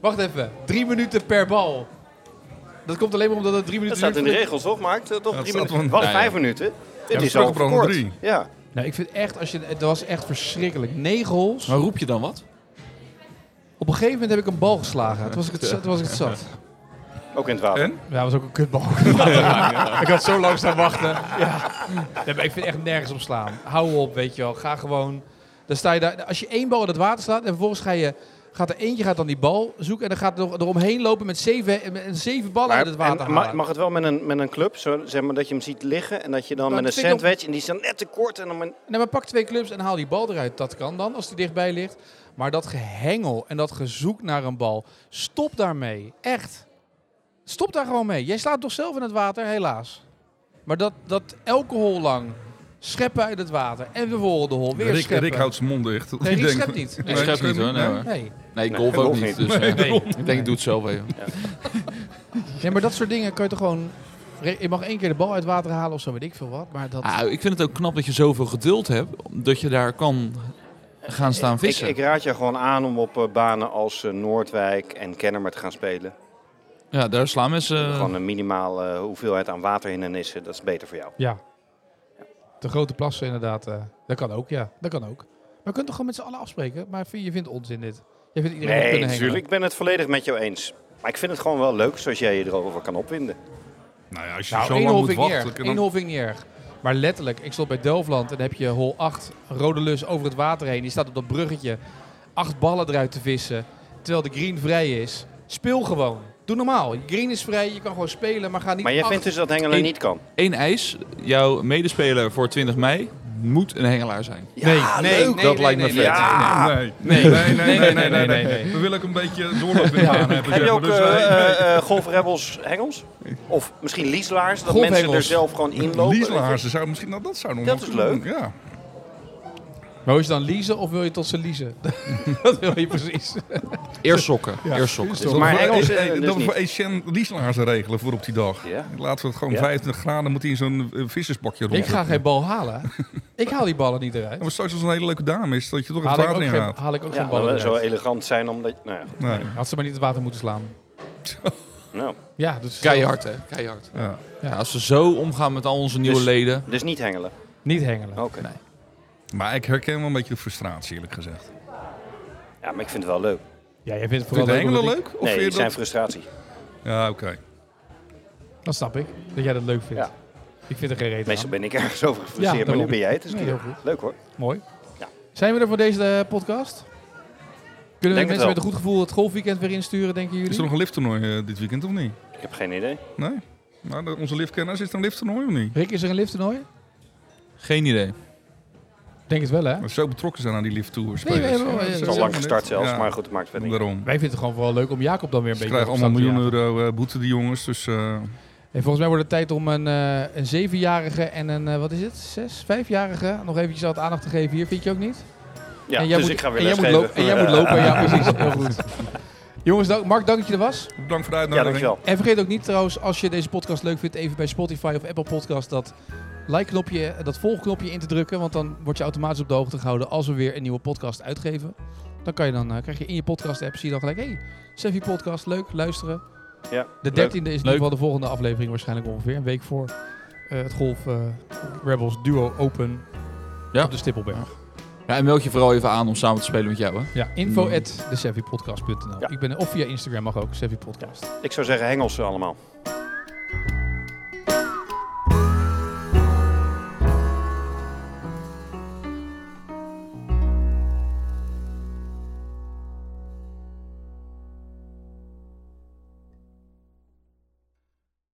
Speaker 2: Wacht even, drie minuten per bal. Dat komt alleen maar omdat het drie
Speaker 1: Dat
Speaker 2: minuten
Speaker 1: staat in
Speaker 2: duurt
Speaker 1: de
Speaker 2: voordat-
Speaker 1: regels, toch, Mark? Eh, Toch
Speaker 3: dat
Speaker 1: drie
Speaker 3: staat
Speaker 1: minuten?
Speaker 3: wel-
Speaker 1: Wat,
Speaker 4: Ja, ja.
Speaker 1: vijf minuten? Dit
Speaker 3: we
Speaker 1: is al
Speaker 3: spraken er al
Speaker 1: verkort.
Speaker 3: drie.
Speaker 1: Ja.
Speaker 2: Nou, ik vind echt, als je, het was echt verschrikkelijk. Negen holes.
Speaker 4: Maar roep je dan wat?
Speaker 2: Op een gegeven moment heb ik een bal geslagen. Toen was ik het, zat- toen was ik het zat.
Speaker 1: Ook in het water.
Speaker 3: En?
Speaker 2: Ja, dat was ook een kutbal. Ik had zo lang staan wachten. Ja. Nee, maar ik vind echt nergens op slaan. Hou op, weet je wel. Ga gewoon... Dan sta je daar, als je één bal in het water slaat en vervolgens ga je, gaat er eentje gaat dan die bal zoeken en dan gaat er nog- eromheen lopen met zeven, met zeven ballen uit het water
Speaker 1: en
Speaker 2: halen.
Speaker 1: ma- mag het wel met een, met een club, zo, zeg maar, dat je hem ziet liggen en dat je dan
Speaker 2: Maar
Speaker 1: met
Speaker 2: dat
Speaker 1: een
Speaker 2: vind ik
Speaker 1: sandwich en die is dan net te kort en dan met-
Speaker 2: Nee, maar pak twee clubs en haal die bal eruit. Dat kan dan, als die dichtbij ligt. Maar dat gehengel en dat gezoek naar een bal, stop daarmee. Echt. Stop daar gewoon mee. Jij slaat toch zelf in het water, helaas. Maar dat, dat elke hol lang scheppen uit het water en de volgende hol weer
Speaker 3: Rick,
Speaker 2: scheppen.
Speaker 3: Rick houdt zijn mond dicht.
Speaker 2: nee,
Speaker 3: Die
Speaker 2: Rick
Speaker 3: denkt-
Speaker 2: schept niet.
Speaker 4: Ik
Speaker 2: Nee,
Speaker 3: Nee,
Speaker 4: schep
Speaker 3: schep
Speaker 4: niet hoor.
Speaker 3: niet,
Speaker 4: Nee,
Speaker 3: nee.
Speaker 4: hoor.
Speaker 2: nee.
Speaker 4: nee golf
Speaker 1: golf
Speaker 4: ook
Speaker 1: niet.
Speaker 4: niet. Dus, eh,
Speaker 2: Nee.
Speaker 4: Ik denk, ik doe het zelf even.
Speaker 2: Nee, maar dat soort dingen kan je toch gewoon... Re- Je mag één keer de bal uit het water halen of zo, weet ik veel wat. Maar dat...
Speaker 4: Ah, ik vind het ook knap dat je zoveel geduld hebt, dat je daar kan gaan staan
Speaker 1: Ik,
Speaker 4: vissen.
Speaker 1: ik raad je gewoon aan om op eh, banen als eh, Noordwijk en Kennemer te gaan spelen.
Speaker 4: Ja, daar slaan
Speaker 2: Eh.
Speaker 4: mensen... eh,
Speaker 1: Gewoon een minimale hoeveelheid aan waterhindernissen, dat is beter voor jou.
Speaker 2: Ja. De grote plassen inderdaad. eh, dat kan ook, ja. Dat kan ook. Maar je kunt toch gewoon met z'n allen afspreken? Maar vind- je vindt onzin dit. Je vindt iedereen moet
Speaker 1: Nee,
Speaker 2: kunnen hengelen.
Speaker 1: natuurlijk. Ik ben het volledig met jou eens. Maar ik vind het gewoon wel leuk zoals jij je erover kan opwinden.
Speaker 3: Nou ja, als je
Speaker 2: Nou,
Speaker 3: zo
Speaker 2: één
Speaker 3: lang
Speaker 2: hol
Speaker 3: moet
Speaker 2: vind ik niet erg.
Speaker 3: wachten...
Speaker 2: Eén
Speaker 3: dan-
Speaker 2: hol vind ik niet erg. Maar letterlijk, ik stond bij Delftland en dan heb je hol 8, rode lus over het water heen. Die staat op dat bruggetje, acht ballen eruit te vissen, terwijl de green vrij is. Speel gewoon. Doe normaal. Je Green is vrij, je kan gewoon spelen, maar ga niet
Speaker 1: Maar jij
Speaker 2: acht-
Speaker 1: vindt dus dat hengelen
Speaker 4: Eén-
Speaker 1: niet kan?
Speaker 4: Eén ijs, jouw medespeler voor 20 mei, moet een hengelaar zijn.
Speaker 1: Ja,
Speaker 2: nee,
Speaker 1: leuk.
Speaker 2: nee,
Speaker 4: dat
Speaker 2: nee,
Speaker 4: lijkt me
Speaker 2: nee,
Speaker 4: vet.
Speaker 2: nee.
Speaker 1: Ja.
Speaker 3: Nee.
Speaker 2: Nee.
Speaker 3: Nee, nee, nee, nee, nee, nee,
Speaker 2: nee.
Speaker 3: We willen ook een beetje doorloop in de baan hebben.
Speaker 1: Heb
Speaker 3: zeg
Speaker 1: je
Speaker 3: maar.
Speaker 1: ook
Speaker 3: Dus,
Speaker 1: eh,
Speaker 3: nee, nee.
Speaker 1: eh, eh, golfrebbels hengels? Of misschien lieslaars, dat
Speaker 2: Golfhengels.
Speaker 1: mensen er zelf gewoon inlopen.
Speaker 3: Lieslaarzen zou misschien, nou, dat zou nog
Speaker 1: Dat
Speaker 3: wel
Speaker 1: is
Speaker 3: kunnen.
Speaker 1: leuk.
Speaker 3: Ja.
Speaker 2: Maar wil je ze dan leasen of wil je tot ze leasen? dat wil je precies.
Speaker 4: Eerst sokken.
Speaker 3: Ja.
Speaker 4: Eerst sokken.
Speaker 3: Dat we
Speaker 1: maar
Speaker 3: voor-
Speaker 1: Engels,
Speaker 3: eh,
Speaker 1: eh,
Speaker 3: eh,
Speaker 1: dus
Speaker 3: Dat we
Speaker 1: niet.
Speaker 3: voor Etienne Lieslaarzen regelen voor op die dag.
Speaker 1: Ja.
Speaker 3: Laten we het gewoon
Speaker 1: Ja.
Speaker 3: 25 graden, moet hij in zo'n eh, vissersbakje rond.
Speaker 2: Ik ga geen bal halen. Ik haal die ballen niet eruit.
Speaker 3: Maar straks als het een hele leuke dame is, dat je toch het
Speaker 2: Haal ik ook
Speaker 3: water in
Speaker 2: geen,
Speaker 3: gaat.
Speaker 2: haal ik
Speaker 1: Ja,
Speaker 2: ook geen
Speaker 1: dat
Speaker 2: ballen
Speaker 1: we zo
Speaker 2: eruit.
Speaker 1: elegant zijn omdat... Nou ja, goed.
Speaker 3: Nee.
Speaker 2: Had ze maar niet het water moeten slaan.
Speaker 1: Nou,
Speaker 2: Ja, dus
Speaker 4: Keihard, hè? Keihard.
Speaker 3: Ja.
Speaker 4: Ja, als we zo omgaan met al onze nieuwe
Speaker 1: Dus-
Speaker 4: leden.
Speaker 1: dus niet hengelen.
Speaker 2: Niet hengelen.
Speaker 1: Oké.
Speaker 3: Maar ik herken wel een beetje de frustratie, eerlijk gezegd.
Speaker 1: Ja, maar ik vind het wel leuk.
Speaker 2: Ja, jij vindt het
Speaker 3: Vind
Speaker 2: vooral
Speaker 3: je
Speaker 2: leuk.
Speaker 3: het hengelen
Speaker 2: omdat ik-
Speaker 3: leuk? Of
Speaker 1: Nee,
Speaker 3: vind je
Speaker 1: het zijn
Speaker 3: dat-
Speaker 1: frustratie.
Speaker 3: Ja, oké.
Speaker 2: Dat snap ik. Dat jij dat leuk vindt.
Speaker 1: Ja.
Speaker 2: Ik vind er geen reden
Speaker 1: Meestal
Speaker 2: aan.
Speaker 1: ben ik ergens over
Speaker 2: Ja,
Speaker 1: gefrustreerd, maar nu
Speaker 2: daarom.
Speaker 1: ben jij het. Dus
Speaker 2: Nee,
Speaker 1: keer.
Speaker 2: heel goed.
Speaker 1: Leuk hoor.
Speaker 2: Mooi.
Speaker 1: Ja.
Speaker 2: Zijn we er voor deze eh, podcast? Kunnen we
Speaker 1: het
Speaker 2: mensen
Speaker 1: wel.
Speaker 2: met een goed gevoel het golfweekend weer insturen, denken jullie?
Speaker 3: Is er nog een lifttoernooi eh, dit weekend of niet?
Speaker 1: Ik heb geen idee.
Speaker 3: Nee? Nou, de- onze liftkennis, is er een lifttoernooi of niet?
Speaker 2: Rick, is er een lifttoernooi?
Speaker 4: Geen idee.
Speaker 2: Denk het wel, hè?
Speaker 3: Dat we zo betrokken zijn aan die lifttours.
Speaker 2: Nee, we hebben wel-
Speaker 1: Het
Speaker 2: ja,
Speaker 1: is
Speaker 2: dat
Speaker 1: al lang gestart zelfs, maar goed, dat maakt het verder niet.
Speaker 3: Daarom.
Speaker 2: Wij vinden het gewoon wel leuk om Jacob dan weer een
Speaker 3: Ze
Speaker 2: beetje op
Speaker 3: krijgen allemaal
Speaker 2: stap te
Speaker 3: miljoen
Speaker 2: jagen.
Speaker 3: euro eh, boete, die jongens. Dus eh,
Speaker 2: En volgens mij wordt het tijd om een, eh, een zevenjarige en een, eh, wat is het, zes, vijfjarige nog eventjes wat aandacht te geven hier. Vind je ook niet?
Speaker 1: Ja,
Speaker 2: en jij
Speaker 1: dus
Speaker 2: moet,
Speaker 1: ik ga weer
Speaker 2: en jij moet
Speaker 1: lesgeven. Eh,
Speaker 2: lopen- En jij moet lopen, ja precies. Heel goed. Jongens, dank, Mark, dank dat je er was.
Speaker 3: bedankt voor
Speaker 1: Ja,
Speaker 3: de uitnodiging.
Speaker 1: dankjewel.
Speaker 2: En vergeet ook niet trouwens, als je deze podcast leuk vindt, even bij Spotify of Apple Podcast dat like-knopje, eh, dat volgknopje in te drukken. Want dan word je automatisch op de hoogte gehouden als we weer een nieuwe podcast uitgeven. Dan, kan je dan eh, krijg je in je podcast-app, zie je dan gelijk, hey, Seffi Podcast, leuk, luisteren.
Speaker 1: Ja,
Speaker 2: de dertiende is in ieder
Speaker 4: Leuk.
Speaker 2: geval de volgende aflevering waarschijnlijk ongeveer. Een week voor eh, het Golf eh, Rebels Duo Open
Speaker 4: Ja.
Speaker 2: op de Stippelberg.
Speaker 4: Ja, en meld je vooral even aan om samen te spelen met jou, hè?
Speaker 2: Ja, info
Speaker 4: Mm.
Speaker 2: at de
Speaker 4: Ja.
Speaker 2: Ik ben, of via Instagram mag ook, Seffi Podcast.
Speaker 1: Ik zou zeggen hengels allemaal.